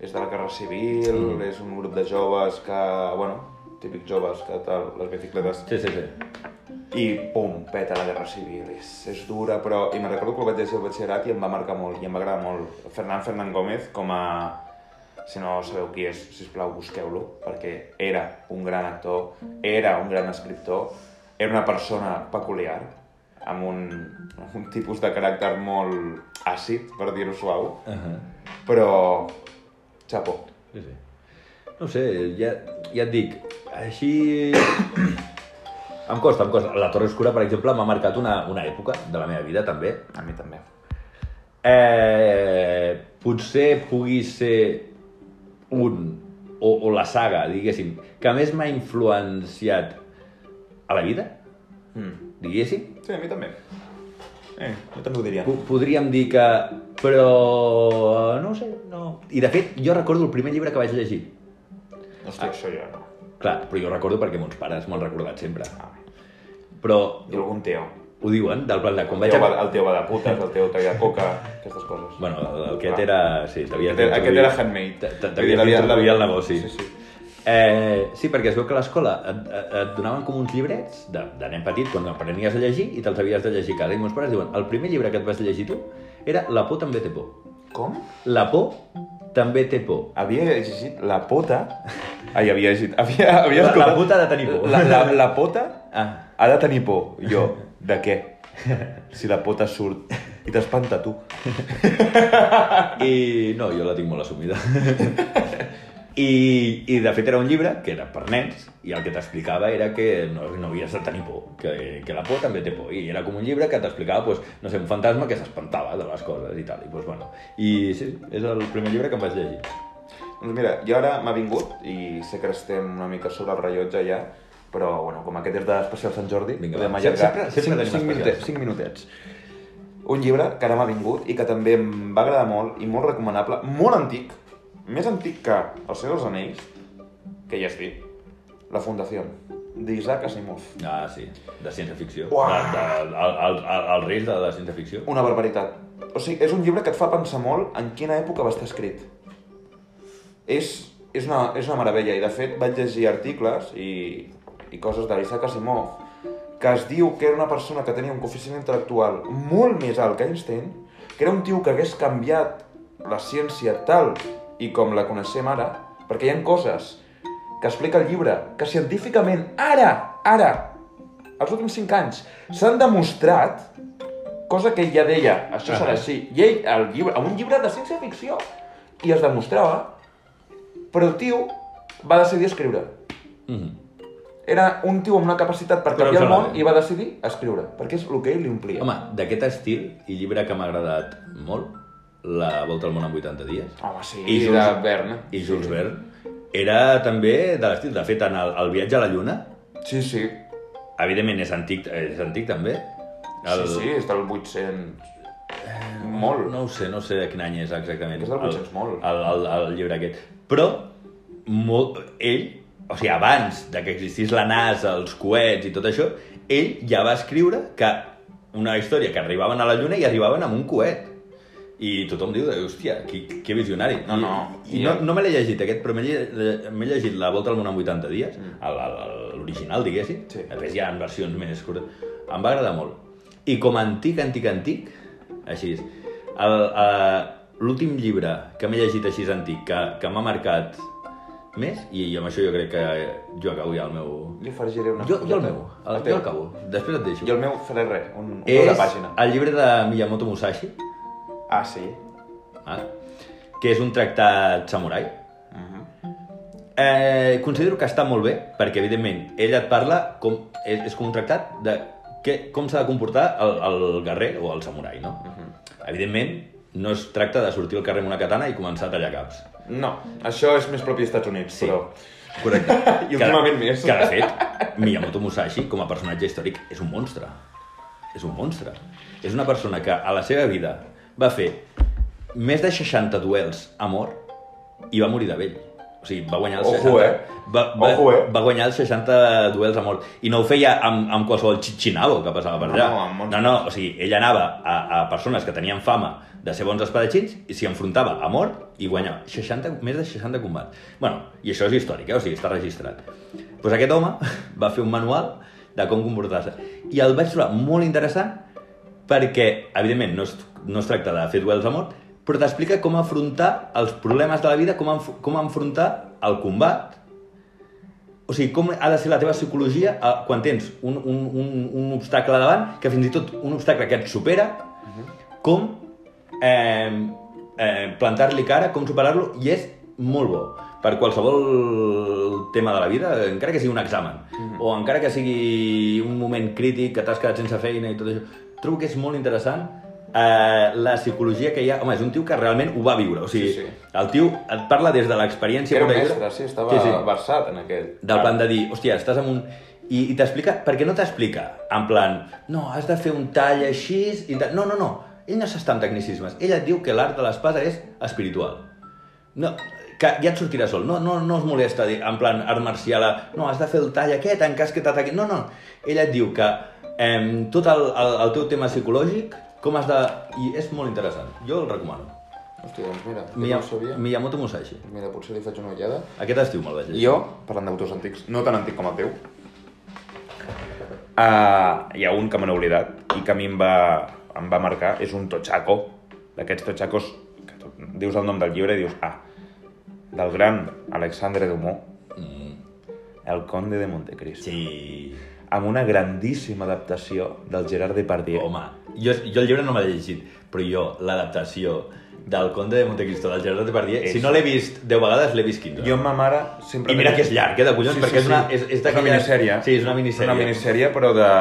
[SPEAKER 2] És de la guerra civil, mm. és un grup de joves que, bueno, típics joves que tal, les bicicletes
[SPEAKER 1] Sí, sí, sí.
[SPEAKER 2] i pum, peta la guerra civil, és, és dura, però... I me'n recordo que el vaig llegir al batxillerat i em va marcar molt, i em va agradar molt. Fernan Fernan Gómez com a... Si no sabeu qui és, sisplau, busqueu-lo, perquè era un gran actor, era un gran escriptor, era una persona peculiar, amb un, amb un tipus de caràcter molt àcid, per dir-ho suau,
[SPEAKER 1] Uh -huh.
[SPEAKER 2] però... Chapo.
[SPEAKER 1] Sí, sí. No ho sé, ja, ja et dic, així... em costa, em costa. La Torre Oscura, per exemple, m'ha marcat una, una època de la meva vida, també.
[SPEAKER 2] A mi també.
[SPEAKER 1] Eh, potser pugui ser un, o, o la saga, diguéssim, que més m'ha influenciat a la vida,
[SPEAKER 2] Mm.
[SPEAKER 1] diguéssim.
[SPEAKER 2] Sí, a mi també. Eh, jo també ho diria.
[SPEAKER 1] Po- Podríem dir que... Però... no ho sé, no... I de fet, jo recordo el primer llibre que vaig llegir.
[SPEAKER 2] Hòstia, això jo no. Ah,
[SPEAKER 1] Clar, però jo recordo perquè mons pares m'ho han recordat sempre. Però
[SPEAKER 2] I algun teo.
[SPEAKER 1] ho diuen, del plan de... Quan
[SPEAKER 2] El
[SPEAKER 1] vaig
[SPEAKER 2] teu,
[SPEAKER 1] a...
[SPEAKER 2] va, el teu va de putes, el teu talla coca, aquestes coses.
[SPEAKER 1] Bueno, el- aquest
[SPEAKER 2] Clar.
[SPEAKER 1] era... Sí, t'havies
[SPEAKER 2] Ah. Aquest, era- aquest
[SPEAKER 1] d'introduir-
[SPEAKER 2] era handmade.
[SPEAKER 1] T- t- T'havies d'introduir al negoci.
[SPEAKER 2] Sí, sí.
[SPEAKER 1] Eh, sí, perquè es veu que a l'escola et, et- et donaven com uns llibrets de, de nen petit, quan aprenies a llegir, i te'ls havies de llegir a casa. I mons pares diuen, el primer llibre que et vas llegir tu era La por també té por.
[SPEAKER 2] Com?
[SPEAKER 1] La por també té por.
[SPEAKER 2] Havia llegit la pota... Ai, havia llegit... Havia, havia
[SPEAKER 1] La- la
[SPEAKER 2] escoltat-
[SPEAKER 1] puta ha de tenir por.
[SPEAKER 2] La, la, la pota
[SPEAKER 1] Ah,
[SPEAKER 2] ha de tenir por. Jo, de què? Si la pota surt i t'espanta tu.
[SPEAKER 1] I no, jo la tinc molt assumida. I, I de fet era un llibre que era per nens i el que t'explicava era que no, no havies de tenir por, que, que la por també té por. I era com un llibre que t'explicava, pues, no sé, un fantasma que s'espantava de les coses i tal. I, pues, bueno, I sí, és el primer llibre que em vaig llegir.
[SPEAKER 2] Doncs mira, jo ara m'ha vingut i sé que estem una mica sobre el rellotge ja, però bueno, com aquest és de l'especial Sant Jordi,
[SPEAKER 1] Vinga,
[SPEAKER 2] podem
[SPEAKER 1] va.
[SPEAKER 2] allargar
[SPEAKER 1] Sempre- sempre tenim
[SPEAKER 2] 5 minutets,
[SPEAKER 1] especials.
[SPEAKER 2] 5 minutets. Un llibre que ara m'ha vingut i que també em va agradar molt i molt recomanable, molt antic, més antic que El Senyor dels Anells, que ja has dit, La Fundació, d'Isaac Asimov.
[SPEAKER 1] Ah, sí, de ciència-ficció.
[SPEAKER 2] Uah!
[SPEAKER 1] De- de- El, el, el, el risc de la ciència-ficció.
[SPEAKER 2] Una barbaritat. O sigui, és un llibre que et fa pensar molt en quina època va estar escrit. És, és, una, és una meravella i de fet vaig llegir articles i, i coses de l'Isaac Asimov que es diu que era una persona que tenia un coeficient intel·lectual molt més alt que Einstein, que era un tio que hagués canviat la ciència tal i com la coneixem ara, perquè hi ha coses que explica el llibre que científicament ara, ara, els últims 5 anys, s'han demostrat cosa que ell ja deia, això serà així. I ell, el llibre, en un llibre de ciència-ficció, i es demostrava, però el tio va decidir escriure.
[SPEAKER 1] Mhm.
[SPEAKER 2] Era un tio amb una capacitat per
[SPEAKER 1] Però em
[SPEAKER 2] canviar el
[SPEAKER 1] sona
[SPEAKER 2] món
[SPEAKER 1] bé.
[SPEAKER 2] i va decidir escriure, perquè és el que ell li omplia.
[SPEAKER 1] Home, d'aquest estil i llibre que m'ha agradat molt, La volta al món en 80 dies.
[SPEAKER 2] Home sí,
[SPEAKER 1] I
[SPEAKER 2] i
[SPEAKER 1] Jules-
[SPEAKER 2] de Verne.
[SPEAKER 1] i Jules Verne era també de l'estil. De fet, en el, el viatge a la Lluna,
[SPEAKER 2] Sí, sí.
[SPEAKER 1] evidentment és antic, és antic també.
[SPEAKER 2] Sí, sí, és del 800... Molt.
[SPEAKER 1] No ho sé, no sé de quin any és exactament.
[SPEAKER 2] És del
[SPEAKER 1] el-
[SPEAKER 2] 800 molt.
[SPEAKER 1] El, el, el llibre aquest. Però molt, ell, o sigui, abans de que existís la NASA, els coets i tot això, ell ja va escriure que una història que arribaven a la Lluna i arribaven amb un coet. I tothom diu, hòstia, qui, que visionari.
[SPEAKER 2] No, no.
[SPEAKER 1] I, i no, no me l'he llegit aquest, però m'he lle- m'he llegit La Volta al Món en 80 dies, el- el- l'original, diguéssim.
[SPEAKER 2] Mm. Sí.
[SPEAKER 1] Després hi ha versions més curtes. Em va agradar molt. I com a antic, antic, antic, així és. El, eh, L'últim llibre que m'he llegit així antic, que, que m'ha marcat més, i amb això jo crec que jo acabo ja el meu...
[SPEAKER 2] Li afegiré una
[SPEAKER 1] Jo, jo el
[SPEAKER 2] coseta.
[SPEAKER 1] meu, el,
[SPEAKER 2] teu.
[SPEAKER 1] jo acabo, després et deixo.
[SPEAKER 2] Jo el meu faré res, un, un peu de
[SPEAKER 1] és
[SPEAKER 2] pàgina.
[SPEAKER 1] el llibre de Miyamoto Musashi,
[SPEAKER 2] Ah, sí?
[SPEAKER 1] ah, que és un tractat samurai.
[SPEAKER 2] Uh -huh.
[SPEAKER 1] Eh, considero que està molt bé, perquè evidentment ell et parla com... És, és com un tractat de que, com s'ha de comportar el, el guerrer o el samurai, no? Evidentment, no es tracta de sortir al carrer amb una katana i començar a tallar caps.
[SPEAKER 2] No, això és més propi dels Estats Units,
[SPEAKER 1] Sí.
[SPEAKER 2] però...
[SPEAKER 1] Correcte.
[SPEAKER 2] I últimament més.
[SPEAKER 1] Que, de fet, Miyamoto Musashi, com a personatge històric, és un monstre. És un monstre. És una persona que a la seva vida va fer més de 60 duels a mort i va morir de vell. O sigui, va guanyar els
[SPEAKER 2] Ojo,
[SPEAKER 1] 60...
[SPEAKER 2] eh?
[SPEAKER 1] Va, va,
[SPEAKER 2] Ojo, eh?
[SPEAKER 1] va guanyar els 60 duels a mort. I no ho feia amb, amb qualsevol xitxinabo que passava per
[SPEAKER 2] No,
[SPEAKER 1] allà.
[SPEAKER 2] no, amb monstres.
[SPEAKER 1] no, no, o sigui, ell anava a, a persones que tenien fama de ser bons espadatxins i s'hi enfrontava a mort i guanyava 60, més de 60 combats. bueno, i això és històric, eh? o sigui, està registrat. Doncs pues aquest home va fer un manual de com comportar-se. I el vaig trobar molt interessant perquè, evidentment, no es, no es tracta de fer duels a mort, però t'explica com afrontar els problemes de la vida, com, enf com enfrontar el combat, o sigui, com ha de ser la teva psicologia eh, quan tens un, un, un, un obstacle davant, que fins i tot un obstacle que et supera, com eh, eh, plantar-li cara, com superar-lo, i és molt bo per qualsevol tema de la vida, encara que sigui un examen,
[SPEAKER 2] Mhm.
[SPEAKER 1] o encara que sigui un moment crític, que t'has quedat sense feina i tot això. Trobo que és molt interessant eh, la psicologia que hi ha... Home, és un tio que realment ho va viure. O sigui,
[SPEAKER 2] Sí, sí.
[SPEAKER 1] el tio et parla des de l'experiència...
[SPEAKER 2] Era un
[SPEAKER 1] pura i dura.
[SPEAKER 2] mestre, sí, estava versat en aquell.
[SPEAKER 1] Del plan de dir, hòstia, estàs en un... I, i t'explica, perquè no t'explica, en plan, no, has de fer un tall així... I tal. No, no, no, ell no s'està en tecnicismes. Ell et diu que l'art de l'espasa és espiritual. No, que ja et sortirà sol. No, no, no es molesta, dir, en plan, art marcial, a, no, has de fer el tall aquest en cas que t'ataqui... No, no, ell et diu que eh, tot el, el, el teu tema psicològic, com has de... I és molt interessant. Jo el recomano.
[SPEAKER 2] Hòstia, doncs mira, jo no
[SPEAKER 1] Miya,
[SPEAKER 2] ho sabia.
[SPEAKER 1] Miyamoto Musashi.
[SPEAKER 2] Mira, potser li faig una ullada.
[SPEAKER 1] Aquest estiu me'l vaig llegir.
[SPEAKER 2] Jo, parlant d'autors antics, no tan antic com el teu, uh, hi ha un que me n'he oblidat i que a mi em va, em va marcar, és un tochaco, d'aquests tochacos que tu dius el nom del llibre i dius, ah, del gran Alexandre Dumont,
[SPEAKER 1] Mm,
[SPEAKER 2] el conde de Montecristo,
[SPEAKER 1] sí...
[SPEAKER 2] amb una grandíssima adaptació del Gerard Depardieu.
[SPEAKER 1] Home, jo, jo el llibre no me l'he llegit, però jo l'adaptació del Conde de Montecristo del Gerard Depardieu,
[SPEAKER 2] És-
[SPEAKER 1] si no l'he vist 10 vegades, l'he vist 15.
[SPEAKER 2] Jo amb ma mare sempre...
[SPEAKER 1] I mira que és llarg, eh, de collons, perquè és una- és- és
[SPEAKER 2] és una
[SPEAKER 1] d'aquelles-
[SPEAKER 2] minissèrie.
[SPEAKER 1] Sí, és una minissèrie.
[SPEAKER 2] Una minissèrie, però de...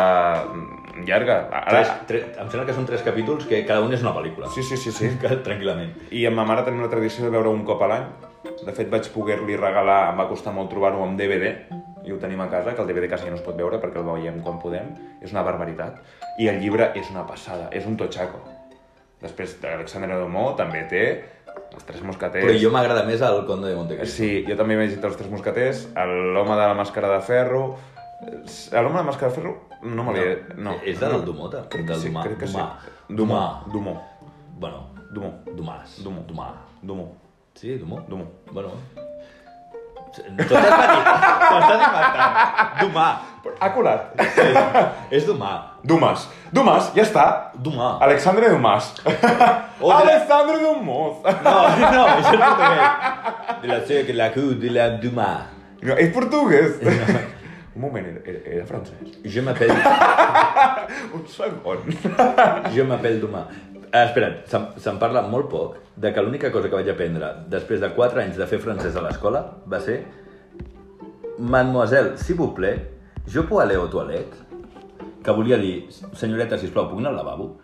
[SPEAKER 2] mm, llarga. Ara...
[SPEAKER 1] Tres, tres, em sembla que són tres capítols que cada un és una pel·lícula.
[SPEAKER 2] Sí, sí, sí, sí.
[SPEAKER 1] Que, tranquil·lament.
[SPEAKER 2] I amb ma mare tenim la tradició de veure un cop a l'any. De fet, vaig poder-li regalar, em va costar molt trobar-ho en DVD, i ho tenim a casa, que el DVD quasi ja no es pot veure perquè el veiem quan podem. És una barbaritat. I el llibre és una passada, és un totxaco. Després, Alexandre Domó també té els tres mosqueters...
[SPEAKER 1] Però jo m'agrada més el Conde de Montecristo.
[SPEAKER 2] Sí, jo també m'he llegit els tres mosqueters, el- l'home de la màscara de ferro... eh, L'home de la màscara de ferro no me l'he... No,
[SPEAKER 1] És del Dumont, eh?
[SPEAKER 2] Crec que
[SPEAKER 1] Del
[SPEAKER 2] sí,
[SPEAKER 1] Dumà-
[SPEAKER 2] crec que sí.
[SPEAKER 1] Dumà.
[SPEAKER 2] Dumó.
[SPEAKER 1] Dumà.
[SPEAKER 2] Dumó.
[SPEAKER 1] Bueno,
[SPEAKER 2] Dumó.
[SPEAKER 1] Dumas.
[SPEAKER 2] Dumont.
[SPEAKER 1] Dumà.
[SPEAKER 2] Dumó.
[SPEAKER 1] Sí, Dumont?
[SPEAKER 2] Dumó.
[SPEAKER 1] Bueno. T'ho estàs patint. T'ho estàs inventant. Dumà.
[SPEAKER 2] Ha colat.
[SPEAKER 1] Sí, és Dumà.
[SPEAKER 2] Dumas. Dumas, ja està.
[SPEAKER 1] Dumà.
[SPEAKER 2] Alexandre Dumas.
[SPEAKER 1] Otra.
[SPEAKER 2] Alexandre Dumas.
[SPEAKER 1] No, no, això és portuguès. De la C, de la Q, de la Duma.
[SPEAKER 2] No, és portuguès. Un moment, era, era- era francès.
[SPEAKER 1] Je m'appelle...
[SPEAKER 2] Un segon.
[SPEAKER 1] Jo m'appelle Duma. Ah, espera't, se'n se'n parla molt poc de que l'única cosa que vaig aprendre després de 4 anys de fer francès a l'escola va ser Mademoiselle, s'il vous plaît, je peux aller au toilette? Que volia dir, senyoreta, sisplau, puc anar al lavabo?